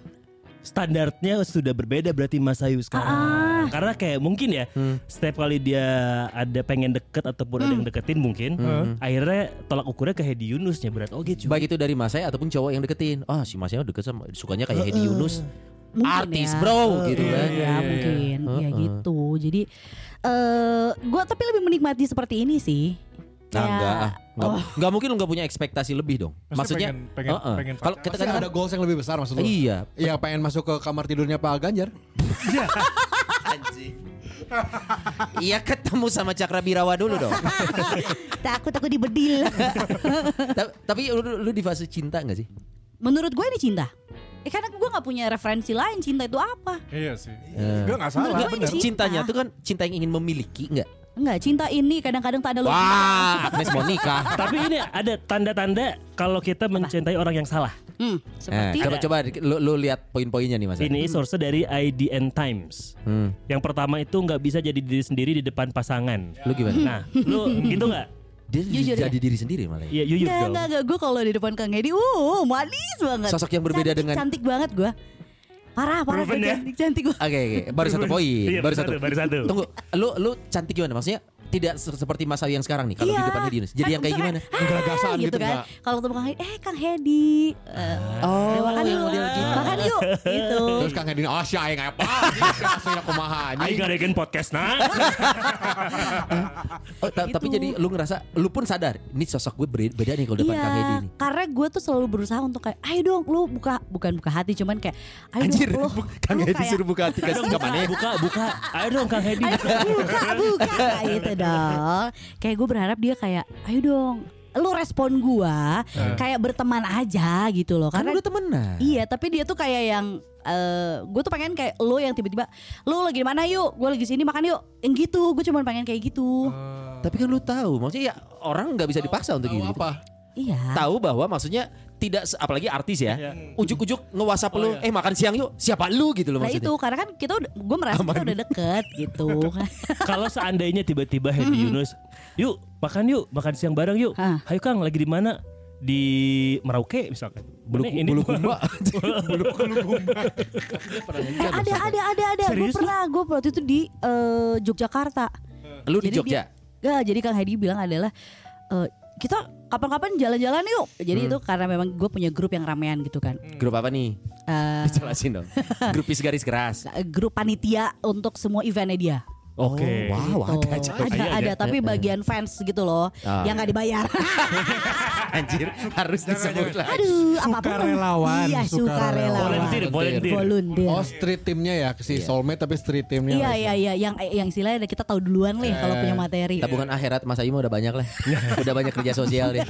[SPEAKER 1] standarnya sudah berbeda berarti Mas Ayu sekarang. Karena kayak mungkin ya setiap kali dia ada pengen deket ataupun ada yang deketin mungkin Hmm. akhirnya tolak ukurnya ke Hedi Yunusnya berat. Oh gitu.
[SPEAKER 3] baik itu dari masnya ataupun cowok yang deketin ah si masnya deket sama sukanya kayak Hedi Yunus
[SPEAKER 6] mungkin
[SPEAKER 3] artis
[SPEAKER 6] ya.
[SPEAKER 3] bro gitu
[SPEAKER 6] Iya,
[SPEAKER 3] kan
[SPEAKER 6] ya mungkin ya
[SPEAKER 3] Heeh.
[SPEAKER 6] gitu. Jadi eh gue tapi lebih menikmati seperti ini sih.
[SPEAKER 3] nah
[SPEAKER 1] Ya.
[SPEAKER 3] enggak ah. Enggak-
[SPEAKER 6] Oh.
[SPEAKER 3] enggak mungkin lu enggak punya ekspektasi lebih dong maksudnya
[SPEAKER 2] pengen- pengen-
[SPEAKER 3] heeh.
[SPEAKER 2] pengen
[SPEAKER 3] kalau kita
[SPEAKER 5] Pasti
[SPEAKER 3] kan
[SPEAKER 5] ada goals yang lebih besar maksud lu?
[SPEAKER 3] iya
[SPEAKER 5] Iya pengen masuk ke kamar tidurnya Pak Ganjar.
[SPEAKER 3] iya ketemu sama Cakra Birawa dulu dong
[SPEAKER 6] Takut aku dibedil.
[SPEAKER 3] Ta- tapi lu, lu di fase cinta enggak sih
[SPEAKER 6] Menurut gue ini cinta. Eh karena gue nggak punya referensi lain cinta itu apa?
[SPEAKER 2] Iya sih. Gue gak salah.
[SPEAKER 3] Enggak,
[SPEAKER 6] Gua ini cinta.
[SPEAKER 3] cintanya tuh kan cinta yang ingin memiliki enggak
[SPEAKER 6] Enggak, cinta ini kadang-kadang tak ada logika.
[SPEAKER 3] Wah, Agnes Monica.
[SPEAKER 1] Tapi ini ada tanda-tanda kalau kita mencintai orang yang salah.
[SPEAKER 6] Hmm, seperti
[SPEAKER 3] coba coba Eh, lu, lu lihat poin-poinnya nih Mas.
[SPEAKER 1] Ini source dari IDN Times.
[SPEAKER 3] Hmm.
[SPEAKER 1] Yang pertama itu nggak bisa jadi diri sendiri di depan pasangan.
[SPEAKER 3] Lu gimana?
[SPEAKER 1] Nah, lu gitu nggak?
[SPEAKER 3] Dia
[SPEAKER 6] Jujur ya?
[SPEAKER 3] jadi diri sendiri malah. ya.
[SPEAKER 1] Iya, yuyur
[SPEAKER 6] Enggak,
[SPEAKER 1] dong.
[SPEAKER 6] enggak, enggak. Gue kalau di depan Kang Edi, uh, manis banget.
[SPEAKER 3] Sosok yang berbeda
[SPEAKER 6] Cantik,
[SPEAKER 3] dengan-
[SPEAKER 6] Cantik banget gue. Parah, parah.
[SPEAKER 1] Proven
[SPEAKER 6] gua
[SPEAKER 1] ya?
[SPEAKER 6] Cantik, cantik gue.
[SPEAKER 3] Oke, oke. Baru satu poin.
[SPEAKER 1] Iya,
[SPEAKER 3] baru satu.
[SPEAKER 1] Baru satu.
[SPEAKER 3] Tunggu, lu lu cantik gimana? Maksudnya tidak se- seperti Mas Ayu yang sekarang nih kalau
[SPEAKER 6] Iya.
[SPEAKER 1] Iya.
[SPEAKER 3] di depan Hedi Yunus. Jadi yang kayak gimana?
[SPEAKER 5] Gagasan
[SPEAKER 6] gitu,
[SPEAKER 5] gitu,
[SPEAKER 6] kan.
[SPEAKER 5] enggak?
[SPEAKER 6] Kalau ketemu Kang Hedi, eh Kang Hedi. eh,
[SPEAKER 3] Oh,
[SPEAKER 6] eh, makan
[SPEAKER 3] yang
[SPEAKER 6] yuk.
[SPEAKER 3] model gitu.
[SPEAKER 6] Makan yuk. Gitu.
[SPEAKER 5] Terus Kang Hedin, oh si aing apa? Saya kumaha
[SPEAKER 1] Ayo
[SPEAKER 5] anjing.
[SPEAKER 1] garekin podcast nah.
[SPEAKER 3] Oh, ta- tapi
[SPEAKER 6] Gitu.
[SPEAKER 3] jadi lu ngerasa lu pun sadar ini sosok gue beri- beda nih kalau depan Kang Hedi
[SPEAKER 6] Iya,
[SPEAKER 3] nih.
[SPEAKER 6] karena gue tuh selalu berusaha untuk kayak, ayo dong, lu buka, bukan buka hati, cuman kayak, ayo
[SPEAKER 3] Anjir,
[SPEAKER 6] dong, lu,
[SPEAKER 3] Kang
[SPEAKER 6] lu
[SPEAKER 3] Hedi
[SPEAKER 6] kayak-
[SPEAKER 3] suruh buka tiket
[SPEAKER 1] Ayo dong, buka, buka, buka. Ayo dong Kang Hedi. buka.
[SPEAKER 6] buka buka Nah, gitu dong kayak gue berharap dia kayak ayo dong lu respon gua kayak berteman aja gitu loh
[SPEAKER 3] Kan
[SPEAKER 6] karena
[SPEAKER 3] udah temenan.
[SPEAKER 6] iya tapi dia tuh kayak yang gue tuh pengen kayak lo yang tiba-tiba lo lagi di mana yuk gue lagi sini makan yuk yang gitu gue cuma pengen kayak gitu
[SPEAKER 3] Tapi kan lu tahu, maksudnya ya orang nggak bisa dipaksa untuk
[SPEAKER 5] Tahu
[SPEAKER 3] gitu.
[SPEAKER 5] apa?
[SPEAKER 6] iya
[SPEAKER 3] Tahu bahwa maksudnya tidak se- apalagi artis
[SPEAKER 5] Iya.
[SPEAKER 3] ya. Ujuk-ujuk nge-WhatsApp
[SPEAKER 5] Oh,
[SPEAKER 3] lu, eh makan siang yuk. Siapa lu gitu loh
[SPEAKER 6] nah
[SPEAKER 3] maksudnya.
[SPEAKER 6] itu karena kan kita udah gue merasa kita udah deket gitu
[SPEAKER 1] Kalau seandainya tiba-tiba Hedi Yunus, yuk makan yuk, makan siang bareng yuk.
[SPEAKER 6] Hah.
[SPEAKER 1] Ayo Kang, lagi di mana? Di Merauke misalkan.
[SPEAKER 3] Bulu,
[SPEAKER 1] Ini- ini-
[SPEAKER 3] bulu kumba.
[SPEAKER 6] eh
[SPEAKER 3] Ah,
[SPEAKER 6] ada ada ada ada gue
[SPEAKER 1] Serius lu?
[SPEAKER 6] pernah gue waktu itu di eh, Yogyakarta
[SPEAKER 3] lu di
[SPEAKER 6] Jadi
[SPEAKER 3] Jogja.
[SPEAKER 6] Dia, Nggak, jadi Kang Hedi bilang adalah eh, kita kapan-kapan jalan-jalan yuk. Jadi
[SPEAKER 3] Hmm.
[SPEAKER 6] itu karena memang gue punya grup yang ramean gitu kan.
[SPEAKER 3] Grup apa nih? Hmm.
[SPEAKER 6] Eh,
[SPEAKER 3] Dijelasin dong. Grupis garis keras. Oh,
[SPEAKER 6] grup panitia untuk semua eventnya dia.
[SPEAKER 1] Oke.
[SPEAKER 3] Wow, ada
[SPEAKER 6] Gitu.
[SPEAKER 3] Ah, aja.
[SPEAKER 6] ada,
[SPEAKER 1] Iya,
[SPEAKER 6] ada,
[SPEAKER 1] ada.
[SPEAKER 6] tapi bagian fans gitu loh
[SPEAKER 3] Ah.
[SPEAKER 6] yang nggak dibayar.
[SPEAKER 3] Anjir, harus disebut lah.
[SPEAKER 6] Aduh, apapun.
[SPEAKER 2] Sukarelawan,
[SPEAKER 6] Iya,
[SPEAKER 2] sukarelawan.
[SPEAKER 6] sukarelawan.
[SPEAKER 1] Volunteer, volunteer.
[SPEAKER 6] Volunteer.
[SPEAKER 5] Oh street teamnya ya si soulmate tapi street teamnya.
[SPEAKER 6] Iya iya iya yang yang istilahnya kita tahu duluan nih kalau punya materi.
[SPEAKER 3] Eh. Tabungan akhirat Mas Ayu mah udah banyak lah. udah banyak kerja sosial deh.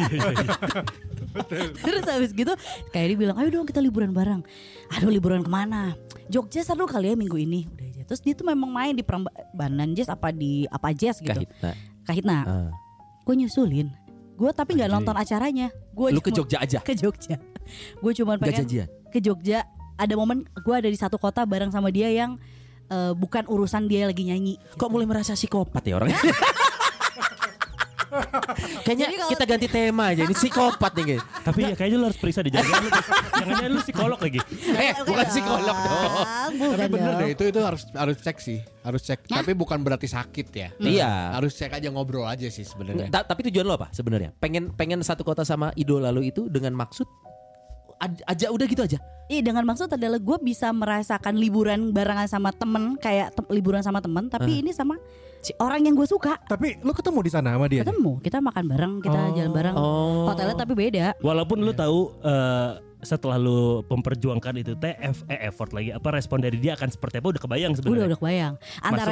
[SPEAKER 6] Terus habis gitu kayak dia bilang ayo dong kita liburan bareng. Aduh liburan kemana? Jogja seru kali ya minggu ini. Udah aja. Terus dia tuh memang main di Prambanan Jazz apa di apa Jazz
[SPEAKER 5] Iya,
[SPEAKER 6] gitu.
[SPEAKER 3] Kahitna.
[SPEAKER 6] Kahitna.
[SPEAKER 3] Ah.
[SPEAKER 6] Gue nyusulin. Gue tapi nggak nonton acaranya. Gue
[SPEAKER 3] Lu ke Jogja aja.
[SPEAKER 6] Ke Jogja. Gue cuma
[SPEAKER 3] Gak
[SPEAKER 6] pengen
[SPEAKER 3] janjian.
[SPEAKER 6] ke Jogja. Ada momen gue ada di satu kota bareng sama dia yang eh, bukan urusan dia lagi nyanyi.
[SPEAKER 3] Kok mulai merasa psikopat ya orangnya? Kayaknya
[SPEAKER 6] Jadi kalau-
[SPEAKER 3] kita ganti tema aja. Ini psikopat nih guys.
[SPEAKER 1] Tapi ya kayaknya lu harus periksa di jalan. Jangan-jangan lu psikolog lagi.
[SPEAKER 3] Eh, bukan psikolog dong.
[SPEAKER 6] Bukan
[SPEAKER 5] Tapi bener
[SPEAKER 6] dong.
[SPEAKER 5] deh itu itu harus harus cek sih, harus cek. Tapi bukan berarti sakit ya.
[SPEAKER 3] Iya.
[SPEAKER 5] Harus cek aja ngobrol aja sih sebenarnya.
[SPEAKER 3] Ta- tapi tujuan lo apa sebenarnya? Pengen pengen satu kota sama idola lo itu dengan maksud aj- aja udah gitu aja.
[SPEAKER 6] Iya dengan maksud adalah gue bisa merasakan liburan barengan sama temen kayak te- liburan sama
[SPEAKER 1] Hmm.
[SPEAKER 6] temen tapi ini sama si orang yang gue suka
[SPEAKER 2] Tapi lu ketemu di sana sama dia?
[SPEAKER 6] ketemu kita makan bareng kita jalan bareng
[SPEAKER 3] Oh.
[SPEAKER 6] hotelnya tapi beda
[SPEAKER 1] Walaupun lu tahu eh, setelah lu memperjuangkan itu teh ef- eh, effort lagi apa respon dari dia akan seperti apa udah kebayang
[SPEAKER 6] udah
[SPEAKER 1] sebenarnya.
[SPEAKER 6] udah kebayang antara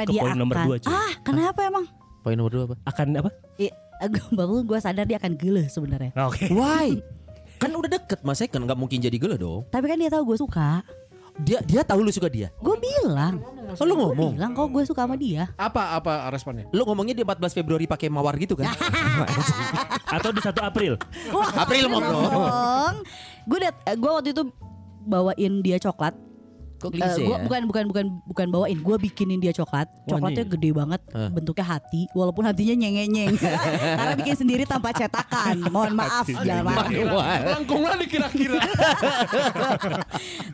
[SPEAKER 1] Masuk ke
[SPEAKER 6] dia
[SPEAKER 1] poin
[SPEAKER 6] akan
[SPEAKER 1] nomor dua, cuy.
[SPEAKER 6] ah kenapa emang Iya,
[SPEAKER 3] Poin nomor dua apa?
[SPEAKER 1] Akan apa?
[SPEAKER 6] I- baru gue sadar dia akan gele sebenarnya
[SPEAKER 1] Nah, Oke.
[SPEAKER 3] Why? kan udah deket mas kan nggak mungkin jadi gelo dong.
[SPEAKER 6] tapi kan dia tahu gue suka
[SPEAKER 3] Dia dia tahu lu suka dia.
[SPEAKER 6] gue bilang
[SPEAKER 3] Oh, lu
[SPEAKER 6] Gua
[SPEAKER 3] ngomong.
[SPEAKER 6] bilang kok gue suka sama dia
[SPEAKER 5] Apa apa responnya?
[SPEAKER 3] Lu ngomongnya di 14 Februari pakai mawar gitu kan?
[SPEAKER 1] Atau di 1 April.
[SPEAKER 6] Wah,
[SPEAKER 3] April mau
[SPEAKER 6] gue gue eh, waktu itu bawain dia coklat
[SPEAKER 3] Kok
[SPEAKER 6] Eh,
[SPEAKER 3] klise ya? Oh,
[SPEAKER 6] gua bukan bukan bukan bukan bawain gue bikinin dia coklat coklatnya
[SPEAKER 1] nih.
[SPEAKER 6] gede banget
[SPEAKER 3] Hah.
[SPEAKER 6] bentuknya hati walaupun hatinya nyeng nyeng karena bikin sendiri tanpa cetakan mohon maaf jangan marah
[SPEAKER 3] Manual.
[SPEAKER 5] Langkunglah dikira-kira.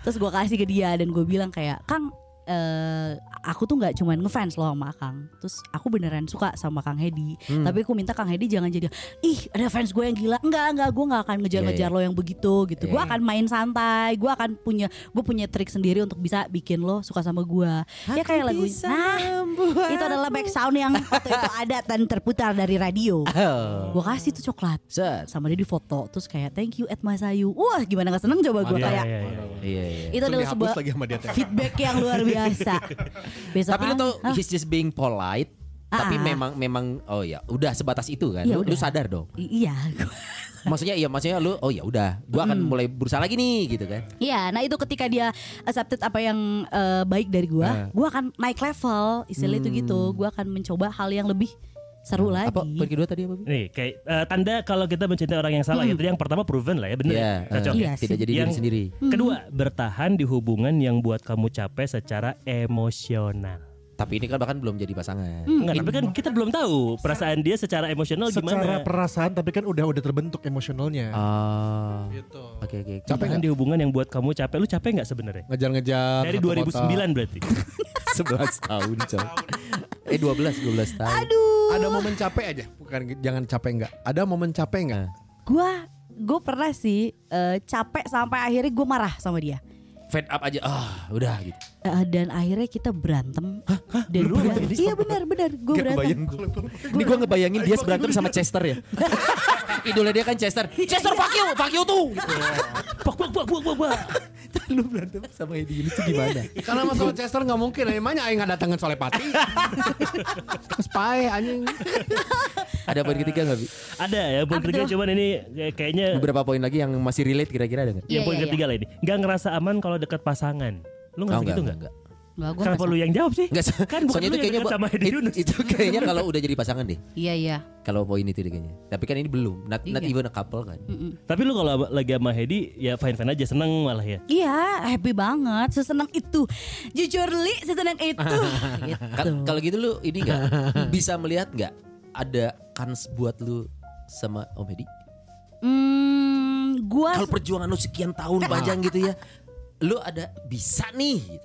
[SPEAKER 6] terus gue kasih ke dia dan gue bilang kayak kang eh aku tuh nggak cuman ngefans loh sama Kang, terus aku beneran suka sama Kang Hedi.
[SPEAKER 3] Hmm.
[SPEAKER 6] Tapi aku minta Kang Hedi jangan jadi, ih ada fans gue yang gila. Enggak enggak, gue nggak akan ngejar-ngejar
[SPEAKER 3] Iya,
[SPEAKER 6] lo yang begitu gitu. Gue
[SPEAKER 3] Iya.
[SPEAKER 6] akan main santai, gue akan punya gue punya trik sendiri untuk bisa bikin lo suka sama gue. Ya kayak lagu, nah itu adalah back sound yang waktu itu ada dan terputar dari radio.
[SPEAKER 3] Oh.
[SPEAKER 6] Gue kasih tuh coklat
[SPEAKER 3] Set.
[SPEAKER 6] sama dia di foto terus kayak thank you at Masayu. Wah gimana gak seneng coba gue
[SPEAKER 1] Iya,
[SPEAKER 6] kayak
[SPEAKER 1] iya, iya.
[SPEAKER 3] Iya, iya.
[SPEAKER 6] itu adalah
[SPEAKER 5] dihapus
[SPEAKER 6] sebuah
[SPEAKER 5] lagi sama dia, Teh.
[SPEAKER 6] feedback yang luar biasa. Besok
[SPEAKER 3] Tapi lu tau
[SPEAKER 6] ah,
[SPEAKER 3] he's just being polite. Tapi
[SPEAKER 6] Ah.
[SPEAKER 3] memang memang oh ya udah sebatas itu kan.
[SPEAKER 6] Ya
[SPEAKER 3] Lu- lu
[SPEAKER 6] udah.
[SPEAKER 3] sadar dong.
[SPEAKER 6] i- iya,
[SPEAKER 3] Maksudnya iya maksudnya lu oh ya udah, gua akan mulai berusaha lagi nih gitu kan.
[SPEAKER 6] iya. Nah itu ketika dia accepted apa yang eh, baik dari gua, gua akan naik level. Istilah itu gitu, gua akan mencoba hal yang lebih seru lagi.
[SPEAKER 3] Nah, Apa poin kedua tadi apa? Bi?
[SPEAKER 1] Nih, kayak eh, tanda kalau kita mencintai orang yang salah ya. Tadi yang pertama proven lah ya, bener.
[SPEAKER 3] Iya,
[SPEAKER 1] ya? Cocok ya?
[SPEAKER 3] eh,
[SPEAKER 6] Iya
[SPEAKER 3] tidak
[SPEAKER 6] sih.
[SPEAKER 3] jadi
[SPEAKER 1] Yang
[SPEAKER 3] diri sendiri.
[SPEAKER 1] Kedua, bertahan di hubungan yang buat kamu capek secara emosional.
[SPEAKER 3] Tapi ini kan bahkan belum jadi pasangan.
[SPEAKER 1] Enggak, tapi kan kita belum tahu perasaan dia secara emosional gimana.
[SPEAKER 2] Secara perasaan tapi kan udah udah terbentuk emosionalnya.
[SPEAKER 3] Ah. Oke oke. oke.
[SPEAKER 1] Capek kan di hubungan yang buat kamu capek. Lu capek nggak sebenarnya? Ah,
[SPEAKER 5] Ngejar-ngejar
[SPEAKER 1] Dari
[SPEAKER 5] satu kota.
[SPEAKER 1] 2009 berarti.
[SPEAKER 3] 11 tahun, coy. Eh 12, 12 tahun.
[SPEAKER 5] Ada momen capek aja, bukan jangan capek enggak. Ada momen capek enggak?
[SPEAKER 6] Gua gue pernah sih eh, capek sampai akhirnya gue marah sama dia.
[SPEAKER 3] Fed up aja. Ah, udah gitu.
[SPEAKER 6] Eh, dan akhirnya kita berantem. Dan
[SPEAKER 3] Lu
[SPEAKER 6] gua-
[SPEAKER 3] jadi-
[SPEAKER 6] iya benar benar gue
[SPEAKER 3] Gak
[SPEAKER 6] berantem.
[SPEAKER 3] kebayang gue. Ini gue ngebayangin dia berantem sama Chester ya. Idola dia kan Chester. Chester fuck you, fuck you tuh. Gitu.
[SPEAKER 1] Bak bak bak bak bak bak.
[SPEAKER 3] Lu berantem sama Hedi Yunus tuh gimana?
[SPEAKER 5] Karena masalah Chester nggak mungkin, Eh, emangnya Aing nggak datangin Solepati? Terus pae anjing.
[SPEAKER 3] Ada poin ketiga gak Bi?
[SPEAKER 1] Ada ya poin
[SPEAKER 6] Apa
[SPEAKER 1] ketiga
[SPEAKER 6] tuh?
[SPEAKER 1] cuman ini kayak- kayaknya
[SPEAKER 3] Beberapa poin lagi yang masih relate kira-kira ada gak?
[SPEAKER 1] yang
[SPEAKER 6] Iya,
[SPEAKER 1] poin
[SPEAKER 6] iya,
[SPEAKER 1] ketiga lah ini. Gak ngerasa aman kalau dekat pasangan. Lu
[SPEAKER 3] Oh,
[SPEAKER 1] ngerasa gitu nggak?
[SPEAKER 6] Nggak, gua
[SPEAKER 1] Kenapa
[SPEAKER 6] merasa-
[SPEAKER 1] lu yang jawab sih?
[SPEAKER 3] Enggak,
[SPEAKER 1] kan bukan lu
[SPEAKER 3] soalnya itu
[SPEAKER 1] yang
[SPEAKER 3] kayaknya
[SPEAKER 1] dekat sama Hedi
[SPEAKER 3] it-
[SPEAKER 1] Yunus.
[SPEAKER 3] Itu kayaknya kalau udah jadi pasangan deh.
[SPEAKER 6] Iya iya.
[SPEAKER 3] Kalau poin itu deh kayaknya. Tapi kan ini belum. Not, not
[SPEAKER 6] Iya.
[SPEAKER 3] even a couple kan.
[SPEAKER 1] Tapi lu kalau lagi sama Hedi ya fine fine aja seneng malah ya.
[SPEAKER 6] Iya happy banget sesenang itu. Jujur li sesenang itu. gitu.
[SPEAKER 3] Kan kalau gitu lu ini enggak bisa melihat nggak ada kans buat lu sama Om Hedi?
[SPEAKER 6] Hmm, gua
[SPEAKER 3] Kalau perjuangan lu sekian tahun panjang gitu ya, lu ada bisa nih. Gitu.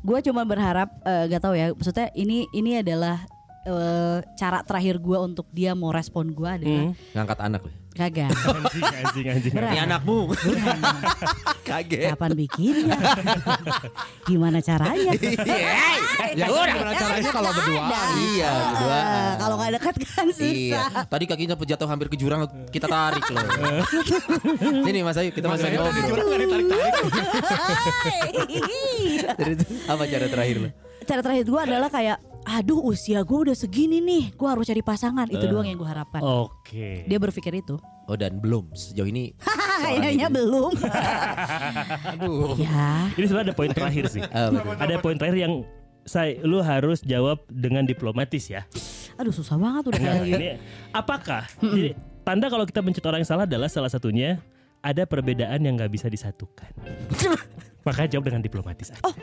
[SPEAKER 6] gue cuma berharap eh, nggak tahu ya maksudnya ini ini adalah eh, cara terakhir gue untuk dia mau respon gue adalah
[SPEAKER 3] Ngangkat anak lu.
[SPEAKER 6] kagak
[SPEAKER 1] Anjing anjing anjing.
[SPEAKER 6] Berat.
[SPEAKER 3] Ini anakmu. Kaget.
[SPEAKER 6] kapan bikinnya gimana caranya
[SPEAKER 3] Ya, gimana
[SPEAKER 5] caranya kalau berduaan?
[SPEAKER 3] Iya, berdua.
[SPEAKER 6] Eh, kalau nggak dekat kan
[SPEAKER 3] Iya.
[SPEAKER 6] susah
[SPEAKER 3] Tadi kakinya jatuh hampir ke jurang kita tarik loh. Sini Mas Ayu, kita masuk ngobrol. Jadi, Apa cara terakhir lu?
[SPEAKER 6] cara terakhir gue adalah kayak aduh usia gue udah segini nih gue harus cari pasangan itu doang yang gue harapkan
[SPEAKER 1] Oh. Oke.
[SPEAKER 6] dia berpikir itu
[SPEAKER 3] Oh dan belum sejauh ini.
[SPEAKER 6] kayaknya belum ya
[SPEAKER 1] Ini sebenarnya ada poin terakhir sih.
[SPEAKER 3] Ah, betul.
[SPEAKER 1] ada poin terakhir yang saya lu harus jawab dengan diplomatis ya.
[SPEAKER 6] aduh susah banget udah kayak
[SPEAKER 1] Nah,
[SPEAKER 6] gitu.
[SPEAKER 1] ini apakah jadi, tanda kalau kita mencet orang yang salah adalah salah satunya ada perbedaan yang nggak bisa disatukan. Maka jawab dengan diplomatis
[SPEAKER 6] Oh,
[SPEAKER 1] aja.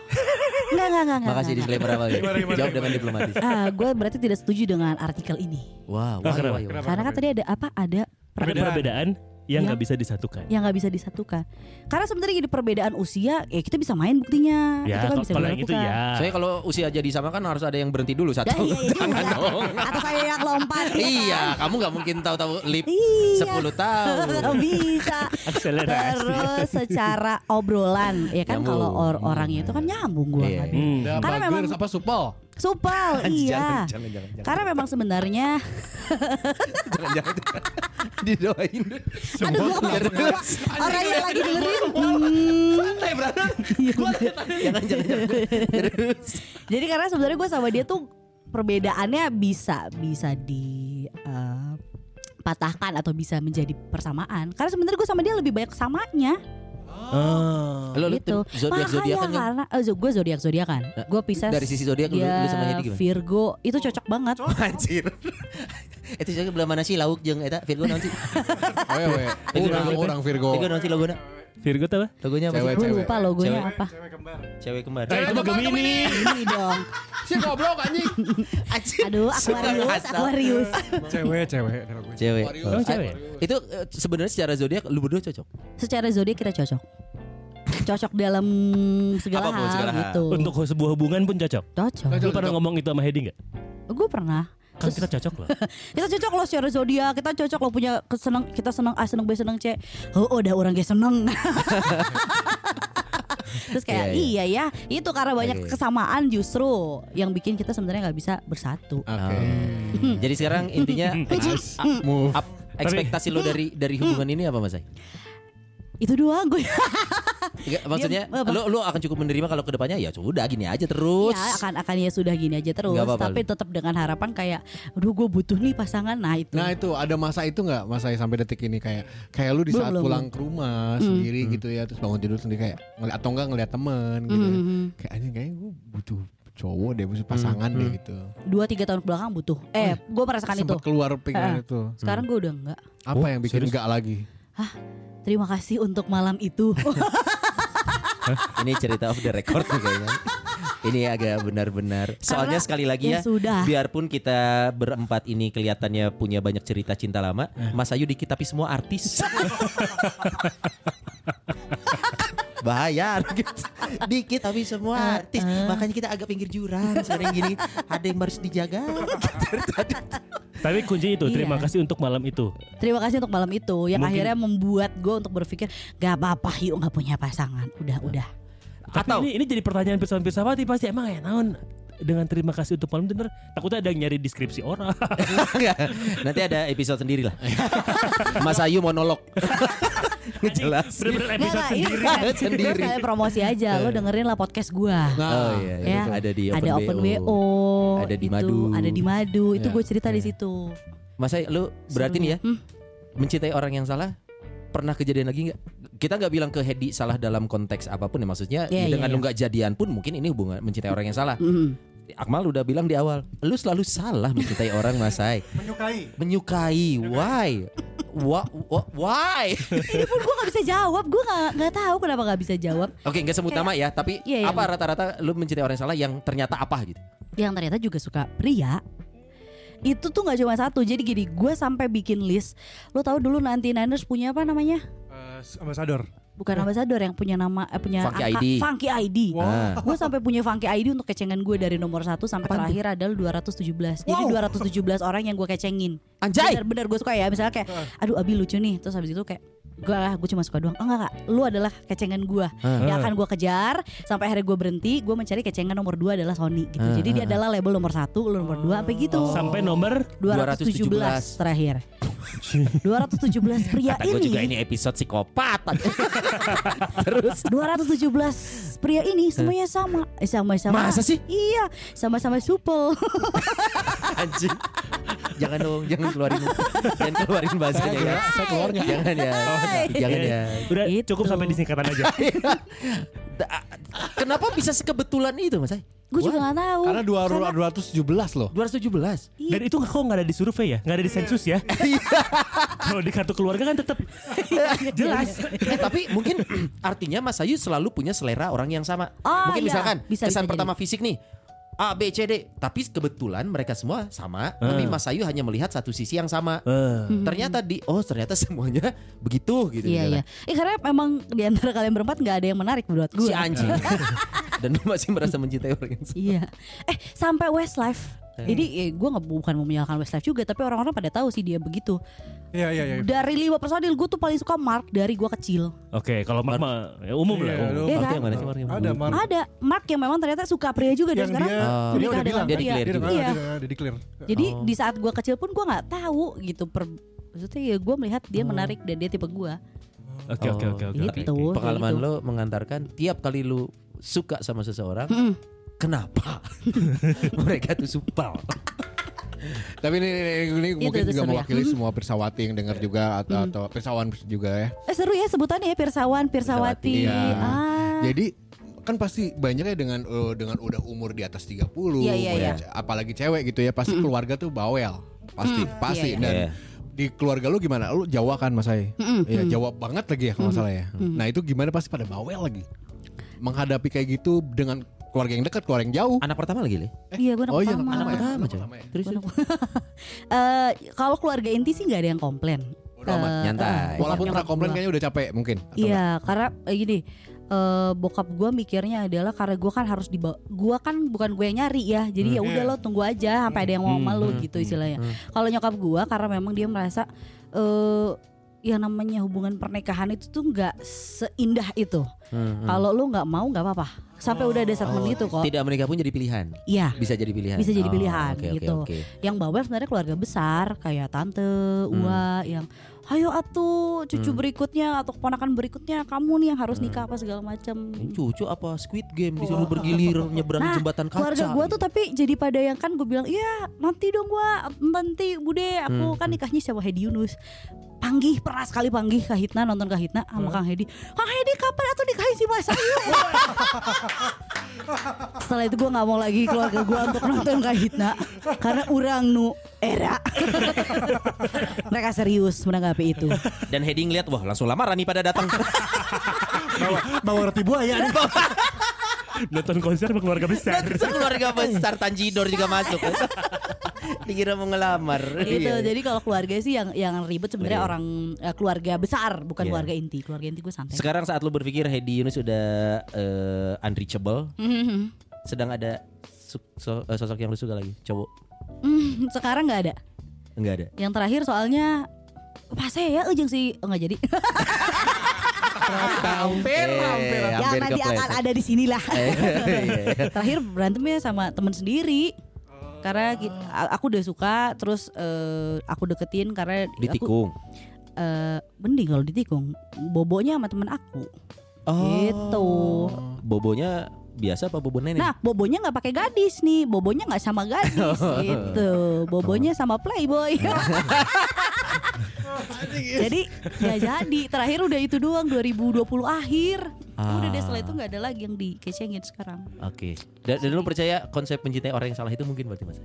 [SPEAKER 6] Enggak, enggak, enggak, enggak.
[SPEAKER 3] Makasih disclaimer awal ya. Jawab dengan diplomatis.
[SPEAKER 6] Ah, gue berarti tidak setuju dengan artikel ini.
[SPEAKER 3] Wah, wah,
[SPEAKER 1] kenapa?
[SPEAKER 3] wah, wah.
[SPEAKER 6] Karena kan tadi ada apa? Ada
[SPEAKER 1] ada
[SPEAKER 6] perbedaan
[SPEAKER 1] perbedaan yang
[SPEAKER 6] Iya.
[SPEAKER 1] nggak bisa disatukan.
[SPEAKER 6] yang nggak bisa disatukan. Karena sebenarnya gini perbedaan usia, ya kita bisa main buktinya. itu
[SPEAKER 1] Ya,
[SPEAKER 6] kan
[SPEAKER 1] kalau-
[SPEAKER 6] bisa
[SPEAKER 1] kalau yang itu
[SPEAKER 6] dilakukan.
[SPEAKER 1] ya.
[SPEAKER 3] Soalnya kalau usia jadi sama kan harus ada yang berhenti dulu satu.
[SPEAKER 6] Dah, iya, iya juga.
[SPEAKER 3] Jangan dong.
[SPEAKER 6] Atau saya yang lompat. gitu kan.
[SPEAKER 3] iya, kamu nggak mungkin tahu-tahu lip
[SPEAKER 6] Iya.
[SPEAKER 3] 10 tahun.
[SPEAKER 6] bisa.
[SPEAKER 1] Akselerasi.
[SPEAKER 6] Terus secara obrolan, ya kan
[SPEAKER 3] Nyambung.
[SPEAKER 6] kalau or- orangnya itu kan nyambung gue.
[SPEAKER 3] Iya.
[SPEAKER 1] Hmm.
[SPEAKER 5] Udah
[SPEAKER 6] Karena
[SPEAKER 5] bagus
[SPEAKER 6] memang-
[SPEAKER 5] apa supel?
[SPEAKER 6] Supel, iya.
[SPEAKER 5] Jangan jangan jangan.
[SPEAKER 6] Karena memang sebenarnya
[SPEAKER 5] jangan, jangan, jangan. Didoain.
[SPEAKER 6] Aduh gue kebanyakan Orang yang lagi dengerin hmm.
[SPEAKER 5] Iya,
[SPEAKER 6] Jadi karena sebenarnya gue sama dia tuh Perbedaannya bisa Bisa di eh, patahkan atau bisa menjadi persamaan karena sebenarnya gue sama dia lebih banyak samanya
[SPEAKER 3] Lo lu
[SPEAKER 6] gitu
[SPEAKER 3] zodiak
[SPEAKER 6] makanya
[SPEAKER 3] zodiakan kan?
[SPEAKER 6] karena eh, gue zodiak zodiakan
[SPEAKER 3] Nah,
[SPEAKER 6] gue pisces
[SPEAKER 3] dari sisi zodiak lu-
[SPEAKER 6] dia
[SPEAKER 3] lu sama Hedi gimana?
[SPEAKER 6] Virgo itu cocok banget
[SPEAKER 3] Anjir. Itu saya belah mana sih lauk jeung eta Virgo nanti.
[SPEAKER 5] Wewe, orang orang iya. Virgo.
[SPEAKER 3] Virgo nanti logona.
[SPEAKER 1] Virgo tuh apa?
[SPEAKER 3] Logonya
[SPEAKER 5] Cewek,
[SPEAKER 3] apa? sih?
[SPEAKER 6] gue lupa logonya
[SPEAKER 3] Cewek.
[SPEAKER 6] apa
[SPEAKER 3] Cewek kembar.
[SPEAKER 1] Nah, itu mah Gemini.
[SPEAKER 6] ini dong
[SPEAKER 5] Si goblok anjing.
[SPEAKER 3] Anjir.
[SPEAKER 6] aduh Aquarius
[SPEAKER 3] Asal.
[SPEAKER 6] Aquarius
[SPEAKER 2] Cewek, cewek. Ada gue.
[SPEAKER 3] Cewek.
[SPEAKER 6] Oh,
[SPEAKER 1] Emang
[SPEAKER 3] Ah,
[SPEAKER 1] cewek?
[SPEAKER 3] Itu eh, sebenarnya secara zodiak lu berdua cocok.
[SPEAKER 6] secara zodiak kita cocok cocok dalam segala
[SPEAKER 3] Apapun,
[SPEAKER 6] hal
[SPEAKER 3] segala hal.
[SPEAKER 6] gitu
[SPEAKER 1] Untuk sebuah hubungan pun cocok.
[SPEAKER 6] cocok
[SPEAKER 1] Lu pernah ngomong itu sama Hedi nggak?
[SPEAKER 6] gue pernah
[SPEAKER 1] Kan kita cocok loh.
[SPEAKER 6] kita cocok loh secara zodiak kita cocok loh punya kesenang kita senang A senang B senang C oh udah orang gak seneng terus kayak
[SPEAKER 3] Iya, iya.
[SPEAKER 6] iya ya itu karena banyak
[SPEAKER 3] Oke.
[SPEAKER 6] kesamaan justru yang bikin kita sebenarnya nggak bisa bersatu
[SPEAKER 5] Oke.
[SPEAKER 6] Hmm.
[SPEAKER 3] Ah. Jadi sekarang intinya ex- a-
[SPEAKER 5] Move.
[SPEAKER 3] ap- ekspektasi lo dari dari hubungan ini apa Mas Ay?
[SPEAKER 6] itu doang Iya, gue
[SPEAKER 3] Nggak, Maksudnya
[SPEAKER 6] Dia- apa?
[SPEAKER 3] lo lo akan cukup menerima kalau kedepannya ya sudah gini aja terus.
[SPEAKER 6] ya akan akan ya sudah gini aja terus
[SPEAKER 3] Nggak apa-apa.
[SPEAKER 6] tapi tetap dengan harapan kayak aduh gue butuh nih pasangan nah itu
[SPEAKER 5] Nah itu ada masa itu nggak masa yang sampai detik ini kayak kayak lu di
[SPEAKER 6] Belum,
[SPEAKER 5] saat
[SPEAKER 6] belum,
[SPEAKER 5] pulang ke rumah sendiri gitu ya terus bangun tidur sendiri kayak ngeliat atau enggak ngeliat temen
[SPEAKER 6] Mm-hmm.
[SPEAKER 5] gitu
[SPEAKER 6] Hmm.
[SPEAKER 5] ya. kayak anjing kayaknya gue butuh cowok deh butuh pasangan deh gitu
[SPEAKER 6] dua tiga tahun belakang butuh eh gue merasakan
[SPEAKER 5] sempat
[SPEAKER 6] itu
[SPEAKER 5] keluar pikiran
[SPEAKER 6] Eh.
[SPEAKER 5] itu
[SPEAKER 6] sekarang gue udah enggak
[SPEAKER 5] apa yang bikin enggak lagi
[SPEAKER 6] terima kasih untuk malam itu
[SPEAKER 3] Ini cerita off the record nih kayaknya. ini agak benar-benar.
[SPEAKER 7] Soalnya
[SPEAKER 6] Karena-
[SPEAKER 7] sekali lagi ya,
[SPEAKER 6] ya sudah.
[SPEAKER 7] biarpun kita berempat ini kelihatannya punya banyak cerita cinta lama, Mas Ayu dikit tapi semua artis. Bahaya Dikit tapi semua artis Makanya kita agak pinggir jurang Sering gini Ada yang harus dijaga
[SPEAKER 1] Tapi kuncinya itu terima
[SPEAKER 6] Iya.
[SPEAKER 1] kasih untuk malam itu.
[SPEAKER 6] Terima kasih untuk malam itu yang
[SPEAKER 1] Mungkin-
[SPEAKER 6] akhirnya membuat gue untuk berpikir gak apa-apa yuk gak punya pasangan. Udah udah.
[SPEAKER 1] Tapi
[SPEAKER 7] Atau-
[SPEAKER 1] ini, ini jadi pertanyaan filsafat filsafat pasti emang ya naon dengan terima kasih untuk malam itu bener takutnya ada yang nyari deskripsi orang.
[SPEAKER 7] Enggak. Nanti ada episode sendiri lah Mas Ayu monolog Ngejelas
[SPEAKER 1] Bener-bener episode
[SPEAKER 6] ini
[SPEAKER 1] sendiri.
[SPEAKER 6] sekalian-
[SPEAKER 7] Sendiri.
[SPEAKER 6] ini sekalian promosi aja. Lo dengerin lah podcast gue.
[SPEAKER 3] Oh iya, iya,
[SPEAKER 6] Ya,
[SPEAKER 3] betul. ada di
[SPEAKER 6] ada open WO,
[SPEAKER 3] Ada di
[SPEAKER 6] itu,
[SPEAKER 3] Madu.
[SPEAKER 6] ada di Madu. Itu
[SPEAKER 3] Ya,
[SPEAKER 6] gue cerita di situ.
[SPEAKER 3] Masa lu berarti nih ya mencintai orang yang salah pernah kejadian lagi nggak? Kita nggak bilang ke Hedi salah dalam konteks apapun ya maksudnya
[SPEAKER 6] Iya, iya,
[SPEAKER 3] dengan lu
[SPEAKER 6] iya.
[SPEAKER 3] nggak jadian pun mungkin ini hubungan mencintai orang yang salah.
[SPEAKER 6] Mm.
[SPEAKER 3] Akmal udah bilang di awal, lu selalu salah mencintai orang Masai.
[SPEAKER 2] menyukai
[SPEAKER 3] Menyukai, why? Wha- wha- why?
[SPEAKER 6] Ini pun gue gak bisa jawab. Gue gak nggak tahu kenapa gak bisa jawab.
[SPEAKER 3] Oke, nggak sebut nama ya, tapi
[SPEAKER 6] Iya, iya.
[SPEAKER 3] apa rata-rata lu mencintai orang yang salah yang ternyata apa gitu?
[SPEAKER 6] Yang ternyata juga suka pria. Itu tuh gak cuma satu. Jadi gini, gue sampai bikin list. Lo tahu dulu nanti Niners punya apa namanya?
[SPEAKER 2] Eh, ambasador
[SPEAKER 6] Bukan ambasador yang punya nama eh, punya
[SPEAKER 3] Funky
[SPEAKER 6] angka
[SPEAKER 3] ID.
[SPEAKER 6] Funky ID.
[SPEAKER 2] Wow.
[SPEAKER 3] Ah.
[SPEAKER 6] Gue sampai punya Funky ID untuk kecengan gue dari nomor 1 sampai terakhir adalah 217. Jadi 217 orang yang gue kecengin.
[SPEAKER 3] Anjay!
[SPEAKER 6] Bener-bener gue suka ya Misalnya kayak Aduh Abi lucu nih Terus habis itu kayak Gue ah, gue cuma suka doang Oh enggak kak Lu adalah kecengan gue Yang akan gue kejar Sampai akhirnya gue berhenti Gue mencari kecengan nomor 2 adalah Sony gitu Jadi dia adalah label nomor 1 Lu nomor 2 Sampai gitu
[SPEAKER 1] Sampai nomor
[SPEAKER 3] 217.
[SPEAKER 6] 217, terakhir 217 pria
[SPEAKER 7] Kata gue juga ini episode psikopat
[SPEAKER 6] 217 pria ini semuanya sama Eh, sama-sama
[SPEAKER 3] Masa sih?
[SPEAKER 6] Iya sama-sama supel
[SPEAKER 3] Anjing. jangan dong, jangan keluarin. jangan keluarin bahasanya ya.
[SPEAKER 6] Saya keluar nggak?
[SPEAKER 3] Jangan ya. Jangan
[SPEAKER 1] Iya,
[SPEAKER 3] ya.
[SPEAKER 1] Udah
[SPEAKER 6] Gitu.
[SPEAKER 1] cukup sampai di singkatan aja.
[SPEAKER 3] Da- Kenapa bisa sekebetulan itu, Mas? Ay?
[SPEAKER 6] Gue juga gak tahu
[SPEAKER 5] Karena 217 loh.
[SPEAKER 3] 217.
[SPEAKER 1] Dan itu kok nggak ada di survei ya, nggak ada di sensus ya. Kalau di kartu keluarga kan tetap jelas.
[SPEAKER 3] Eh, tapi mungkin artinya Mas Ayu selalu punya selera orang yang sama.
[SPEAKER 6] Oh,
[SPEAKER 3] mungkin
[SPEAKER 6] iya.
[SPEAKER 3] misalkan
[SPEAKER 6] Bisa,
[SPEAKER 3] kesan
[SPEAKER 6] bisa
[SPEAKER 3] pertama fisik nih A B C D, tapi kebetulan mereka semua sama, tapi Mas Ayu hanya melihat satu sisi yang sama.
[SPEAKER 1] Eh,
[SPEAKER 3] Ternyata di oh ternyata semuanya begitu gitu.
[SPEAKER 6] Hmm. Iya iya.
[SPEAKER 3] misalkan.
[SPEAKER 6] Eh karena memang di antara kalian berempat nggak ada yang menarik buat
[SPEAKER 3] Si
[SPEAKER 6] gue.
[SPEAKER 3] anjing. Dan lu masih merasa mencintai orang yang sama.
[SPEAKER 6] Iya. Eh sampai Westlife. Jadi eh, gue nggak bukan mau menyalahkan Westlife juga, tapi orang-orang pada tahu sih dia begitu.
[SPEAKER 2] iya iya iya
[SPEAKER 6] Dari lima personil gue tuh paling suka Mark dari gue kecil.
[SPEAKER 1] Oke, kalau mak mah ya umum lah.
[SPEAKER 2] Iya,
[SPEAKER 1] umum.
[SPEAKER 2] lu-
[SPEAKER 6] Iya kan?
[SPEAKER 3] yang mana sih?
[SPEAKER 2] ada Mark
[SPEAKER 6] Ada Mark yang memang ternyata suka pria juga dan
[SPEAKER 2] yang
[SPEAKER 6] sekarang.
[SPEAKER 2] dia
[SPEAKER 3] Oh.
[SPEAKER 2] dia
[SPEAKER 6] nikah
[SPEAKER 2] udah
[SPEAKER 6] dengan
[SPEAKER 3] dia
[SPEAKER 2] bilang
[SPEAKER 6] pria.
[SPEAKER 3] declare
[SPEAKER 2] dia
[SPEAKER 3] juga.
[SPEAKER 2] udah
[SPEAKER 6] Iya.
[SPEAKER 2] dia declare
[SPEAKER 6] Jadi di saat gue kecil pun gue nggak tahu gitu. Per, maksudnya ya gue melihat dia menarik dan dia tipe gue.
[SPEAKER 1] Oke oke oke oke. oke.
[SPEAKER 6] Gitu. kayak
[SPEAKER 3] Pengalaman
[SPEAKER 6] gitu.
[SPEAKER 3] lo mengantarkan tiap kali lu suka sama seseorang, kenapa mereka tuh supel?
[SPEAKER 5] Tapi ini, ini, ini- ini
[SPEAKER 6] Itu-
[SPEAKER 5] mungkin
[SPEAKER 6] itu
[SPEAKER 5] juga
[SPEAKER 6] seru ya.
[SPEAKER 5] mewakili
[SPEAKER 6] Hmm.
[SPEAKER 5] semua pirsawati yang dengar juga atau, atau pirsawan juga ya.
[SPEAKER 6] Eh seru ya sebutannya ya Pirsawan, Pirsawati.
[SPEAKER 5] Iya.
[SPEAKER 6] Ah.
[SPEAKER 5] Jadi kan pasti banyaknya dengan eh, dengan udah umur di atas 30
[SPEAKER 6] Iya, iya,
[SPEAKER 5] banyak- apalagi cewek gitu ya pasti keluarga tuh bawel. Pasti pasti
[SPEAKER 6] iya,
[SPEAKER 5] dan
[SPEAKER 7] Iya.
[SPEAKER 5] di keluarga lu gimana? Lu Jawa kan Mas Ai? Ya Jawa banget lagi ya kalau nggak salah ya. Nah, itu gimana pasti pada bawel lagi. Menghadapi kayak gitu dengan keluarga yang dekat, keluarga yang jauh.
[SPEAKER 3] Anak pertama lagi, Le.
[SPEAKER 6] Iya gue
[SPEAKER 5] oh iya, anak
[SPEAKER 6] pertama.
[SPEAKER 5] pertama ya.
[SPEAKER 3] Pertama,
[SPEAKER 5] Anak
[SPEAKER 3] coy.
[SPEAKER 5] pertama ya.
[SPEAKER 3] Terus
[SPEAKER 6] Eh, kalau keluarga inti sih nggak ada yang komplain.
[SPEAKER 5] Bodo amat,
[SPEAKER 6] Eh,
[SPEAKER 3] nyantai.
[SPEAKER 6] eh,
[SPEAKER 5] Walaupun
[SPEAKER 6] nyokap
[SPEAKER 5] pernah komplain
[SPEAKER 6] gua.
[SPEAKER 5] kayaknya udah capek mungkin. atau
[SPEAKER 6] Iya, karena eh, gini, eh, bokap gue mikirnya adalah karena gue kan harus dibawa, gue kan bukan gue yang nyari ya, jadi ya udah lo tunggu aja sampai ada yang mau sama lo gitu istilahnya.
[SPEAKER 3] Hmm,
[SPEAKER 6] Kalau nyokap gue karena memang dia merasa eh yang namanya hubungan pernikahan itu tuh nggak seindah itu.
[SPEAKER 3] hmm,
[SPEAKER 6] Kalau lo nggak mau nggak apa-apa. Sampai udah ada statement itu kok.
[SPEAKER 3] Mm. Oh, tidak menikah pun jadi pilihan.
[SPEAKER 6] Iya.
[SPEAKER 3] Bisa jadi pilihan.
[SPEAKER 6] Bisa jadi
[SPEAKER 3] Oh,
[SPEAKER 6] pilihan,
[SPEAKER 3] oke, oke,
[SPEAKER 6] gitu.
[SPEAKER 3] oke.
[SPEAKER 6] yang bawel sebenarnya keluarga besar kayak tante,
[SPEAKER 3] Mm.
[SPEAKER 6] ua yang ayo atuh cucu berikutnya atau keponakan berikutnya kamu nih yang harus nikah apa segala macam.
[SPEAKER 3] Ini Cucu apa Squid Game disuruh bergilir nyebrang
[SPEAKER 6] Oh. Nah,
[SPEAKER 3] jembatan kaca. gitu.
[SPEAKER 6] Keluarga gua tuh tapi jadi pada yang kan gue bilang iya nanti dong gua nanti bude
[SPEAKER 3] Hmm,
[SPEAKER 6] aku kan nikahnya sama Hedi Yunus panggih pernah sekali panggih Kahitna nonton Kahitna sama
[SPEAKER 3] Hmm.
[SPEAKER 6] Kang Hedi Kang Hedi kapan atuh nikahin si Mas Ayu setelah itu gua nggak mau lagi keluarga gua untuk nonton Kahitna karena urang nu era mereka serius menanggapi itu
[SPEAKER 7] Dan Hedi ngeliat Wah langsung lamaran nih pada datang
[SPEAKER 2] bawa bawa roti buaya nih
[SPEAKER 1] Nonton konser sama keluarga besar.
[SPEAKER 3] Besar keluarga besar Tanjidor juga masuk. Dikira mau ngelamar.
[SPEAKER 6] gitu.
[SPEAKER 3] iya.
[SPEAKER 6] Jadi kalau keluarga sih yang yang ribet sebenarnya orang eh, keluarga besar,
[SPEAKER 3] Iya.
[SPEAKER 6] bukan keluarga inti. Keluarga inti gue santai.
[SPEAKER 3] Sekarang saat lu berpikir Hedi Yunus udah eh, unreachable,
[SPEAKER 6] Mhm.
[SPEAKER 3] sedang ada su- so- eh, sosok yang lu suka lagi, cowok
[SPEAKER 6] Hmm, sekarang nggak ada.
[SPEAKER 3] enggak ada.
[SPEAKER 6] Yang terakhir soalnya pas saya ya ujung sih oh, nggak jadi.
[SPEAKER 3] Ya, Eh, Hampir, Eh, iya,
[SPEAKER 6] yang Ya, nanti akan ada di sinilah. terakhir berantemnya sama temen sendiri. Karena ki- a- aku udah suka terus eh, aku deketin karena aku-
[SPEAKER 3] Ditikung.
[SPEAKER 6] eh, mending kalau ditikung bobonya sama temen aku
[SPEAKER 3] Oh.
[SPEAKER 6] gitu
[SPEAKER 3] Bobonya biasa apa bobo nenek?
[SPEAKER 6] nah bobonya nggak pakai gadis nih bobonya nggak sama gadis gitu bobonya sama playboy
[SPEAKER 3] Iya.
[SPEAKER 6] jadi nggak jadi terakhir udah itu doang 2020 akhir
[SPEAKER 3] Ah.
[SPEAKER 6] udah deh setelah itu nggak ada lagi yang dikecengin sekarang
[SPEAKER 3] Oke. Dan, dan lu percaya konsep mencintai orang yang salah itu mungkin berarti Mas?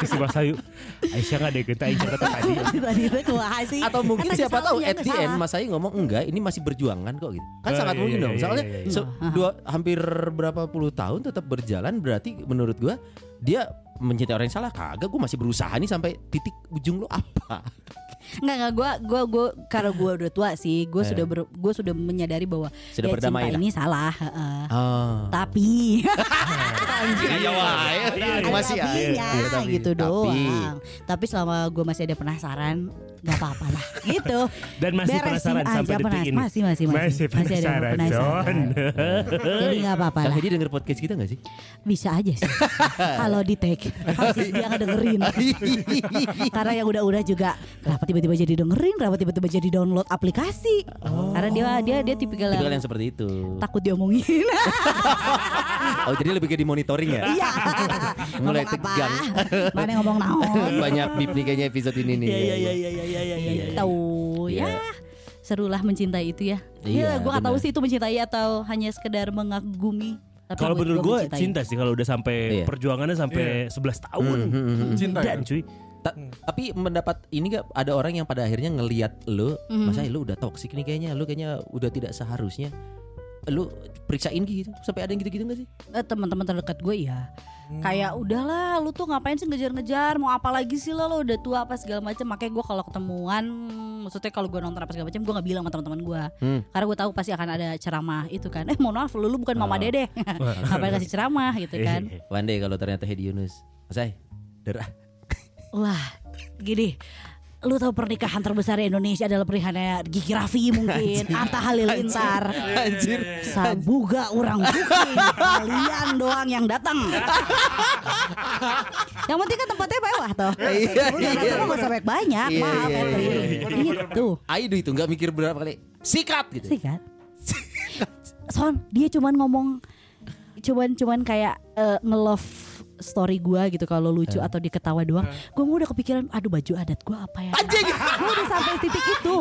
[SPEAKER 1] Ke si Masayu. Aisyah nggak ada kita Aisyah kata tadi.
[SPEAKER 6] tadi itu kumaha sih
[SPEAKER 3] Atau mungkin
[SPEAKER 6] Kata
[SPEAKER 3] siapa tahu
[SPEAKER 6] kesalahan,
[SPEAKER 3] at the end
[SPEAKER 6] kesalahan.
[SPEAKER 3] Mas Ayu ngomong enggak, ini masih berjuangan kok gitu. Kan
[SPEAKER 1] Ah,
[SPEAKER 3] sangat
[SPEAKER 1] iya,
[SPEAKER 3] mungkin
[SPEAKER 1] iya,
[SPEAKER 3] dong.
[SPEAKER 1] iya,
[SPEAKER 3] Soalnya
[SPEAKER 1] iya, iya.
[SPEAKER 6] Ah.
[SPEAKER 3] se- dua hampir berapa puluh tahun tetap berjalan berarti menurut gua dia mencintai orang yang salah kagak gua masih berusaha nih sampai titik ujung lu apa
[SPEAKER 6] Nggak nggak gue gue gue karena gue udah tua sih gue sudah ber, gue sudah menyadari bahwa
[SPEAKER 3] Eh. Sudah
[SPEAKER 6] ya,
[SPEAKER 3] berdamai
[SPEAKER 6] cinta
[SPEAKER 3] lah.
[SPEAKER 6] ini salah. heeh.
[SPEAKER 3] ah
[SPEAKER 6] Tapi
[SPEAKER 3] anjing aja wae
[SPEAKER 1] Iya, iya.
[SPEAKER 3] masih
[SPEAKER 6] tapi
[SPEAKER 3] aja
[SPEAKER 6] ya,
[SPEAKER 1] Iya, tapi.
[SPEAKER 6] gitu
[SPEAKER 3] Tapi.
[SPEAKER 6] doang. Tapi selama gue masih ada penasaran, nggak apa-apa lah, gitu.
[SPEAKER 1] Dan masih
[SPEAKER 6] Beresin
[SPEAKER 1] penasaran
[SPEAKER 6] aja
[SPEAKER 1] sampai detik
[SPEAKER 6] penas-
[SPEAKER 1] ini.
[SPEAKER 6] Masih masih masih
[SPEAKER 1] Masih
[SPEAKER 6] ada yang
[SPEAKER 1] penasaran, John.
[SPEAKER 3] Nah,
[SPEAKER 6] Jadi nggak apa-apa
[SPEAKER 3] Kang
[SPEAKER 6] lah,
[SPEAKER 3] Hedi denger podcast kita gak sih?
[SPEAKER 6] bisa aja sih. Kalau di tag, pasti dia ngedengerin. Karena yang udah-udah juga, kenapa tiba-tiba jadi dengerin, kenapa tiba-tiba jadi download aplikasi?
[SPEAKER 1] Oh.
[SPEAKER 6] Karena dia dia dia tipikal
[SPEAKER 3] Tipikal
[SPEAKER 6] yang
[SPEAKER 3] yang seperti itu
[SPEAKER 6] takut diomongin.
[SPEAKER 3] Oh jadi lebih ke di monitoring ya?
[SPEAKER 6] Iya.
[SPEAKER 3] Mulai
[SPEAKER 6] Ngomong apa?
[SPEAKER 3] tegang.
[SPEAKER 6] Mana ngomong naon?
[SPEAKER 3] Banyak bip nih kayaknya episode ini nih
[SPEAKER 1] Iya iya iya iya iya iya iya. iya.
[SPEAKER 6] Tahu ya. Serulah mencintai itu ya.
[SPEAKER 3] Iya,
[SPEAKER 6] Iya, gua nggak tahu
[SPEAKER 3] benar.
[SPEAKER 6] sih itu mencintai atau hanya sekedar mengagumi. Tapi
[SPEAKER 1] Kalau
[SPEAKER 6] buat
[SPEAKER 1] menurut
[SPEAKER 6] gua
[SPEAKER 1] gue
[SPEAKER 6] mencintai.
[SPEAKER 1] cinta sih kalau udah sampai
[SPEAKER 3] Iya. Hmm,
[SPEAKER 1] perjuangannya sampai 11 tahun.
[SPEAKER 2] Cinta
[SPEAKER 1] Dan
[SPEAKER 2] ya?
[SPEAKER 1] cuy.
[SPEAKER 3] Ta- Tapi mendapat ini gak ada orang yang pada akhirnya ngelihat lu
[SPEAKER 1] Mhm.
[SPEAKER 3] Masa lu udah toksik nih kayaknya Lu kayaknya udah tidak seharusnya Lu periksain gitu Sampai ada yang gitu-gitu gak sih?
[SPEAKER 6] Eh, teman-teman terdekat gue ya.
[SPEAKER 1] Hmm.
[SPEAKER 6] Kayak udahlah lu tuh ngapain sih ngejar-ngejar Mau apa lagi sih lo lo udah tua apa segala macam Makanya gue kalau ketemuan Maksudnya kalau gue nonton apa segala macam Gue gak bilang sama teman-teman gue
[SPEAKER 3] Hmm.
[SPEAKER 6] Karena gue tahu pasti akan ada ceramah itu kan Eh mohon maaf lu, lu bukan
[SPEAKER 1] Ah.
[SPEAKER 6] mama dede Ngapain kasih ceramah gitu
[SPEAKER 1] Iya.
[SPEAKER 6] kan
[SPEAKER 3] One day kalau ternyata Hedi Yunus Masai Derah
[SPEAKER 6] Wah, gini. Lu tahu pernikahan terbesar di Indonesia adalah pernikahannya Gigi Raffi mungkin, Atta Halilintar. Anjir. Sabuga orang booking, kalian doang yang datang. yang penting kan tempatnya mewah toh.
[SPEAKER 3] Iya,
[SPEAKER 6] Udah
[SPEAKER 3] iya.
[SPEAKER 6] datang usah banyak-banyak,
[SPEAKER 3] Iya,
[SPEAKER 6] maaf
[SPEAKER 3] iya,
[SPEAKER 6] Fitri.
[SPEAKER 3] iya,
[SPEAKER 6] Gitu,
[SPEAKER 3] Aido itu gak mikir berapa kali Sikat gitu
[SPEAKER 6] sih kan. Son, dia cuman ngomong cuman cuman kayak eh, nge-love story gua gitu kalau
[SPEAKER 3] Eh.
[SPEAKER 6] lucu atau diketawa doang. Gua mau udah kepikiran, aduh baju adat gua apa ya?
[SPEAKER 3] Anjing
[SPEAKER 6] Gue udah sampai titik itu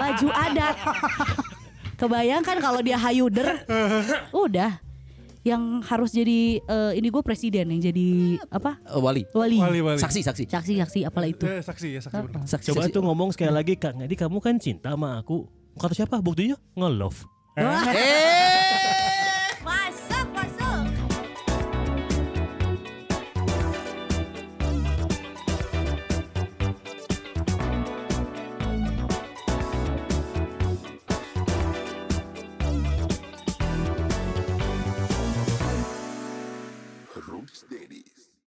[SPEAKER 6] Baju adat Kebayangkan kalau dia hayuder Udah Yang harus jadi eh, Ini gue presiden yang jadi Apa?
[SPEAKER 3] Eh, Wali
[SPEAKER 6] Wali
[SPEAKER 2] Wali, wali.
[SPEAKER 3] Saksi-saksi
[SPEAKER 6] Saksi-saksi apalah itu
[SPEAKER 2] Eh, saksi ya saksi benar.
[SPEAKER 3] Saksi,
[SPEAKER 1] Coba
[SPEAKER 3] saksi.
[SPEAKER 1] tuh ngomong sekali lagi Kak Ngedi kamu kan cinta sama aku. Kata siapa? Buktinya nge-love.
[SPEAKER 6] Wah,
[SPEAKER 3] Eh,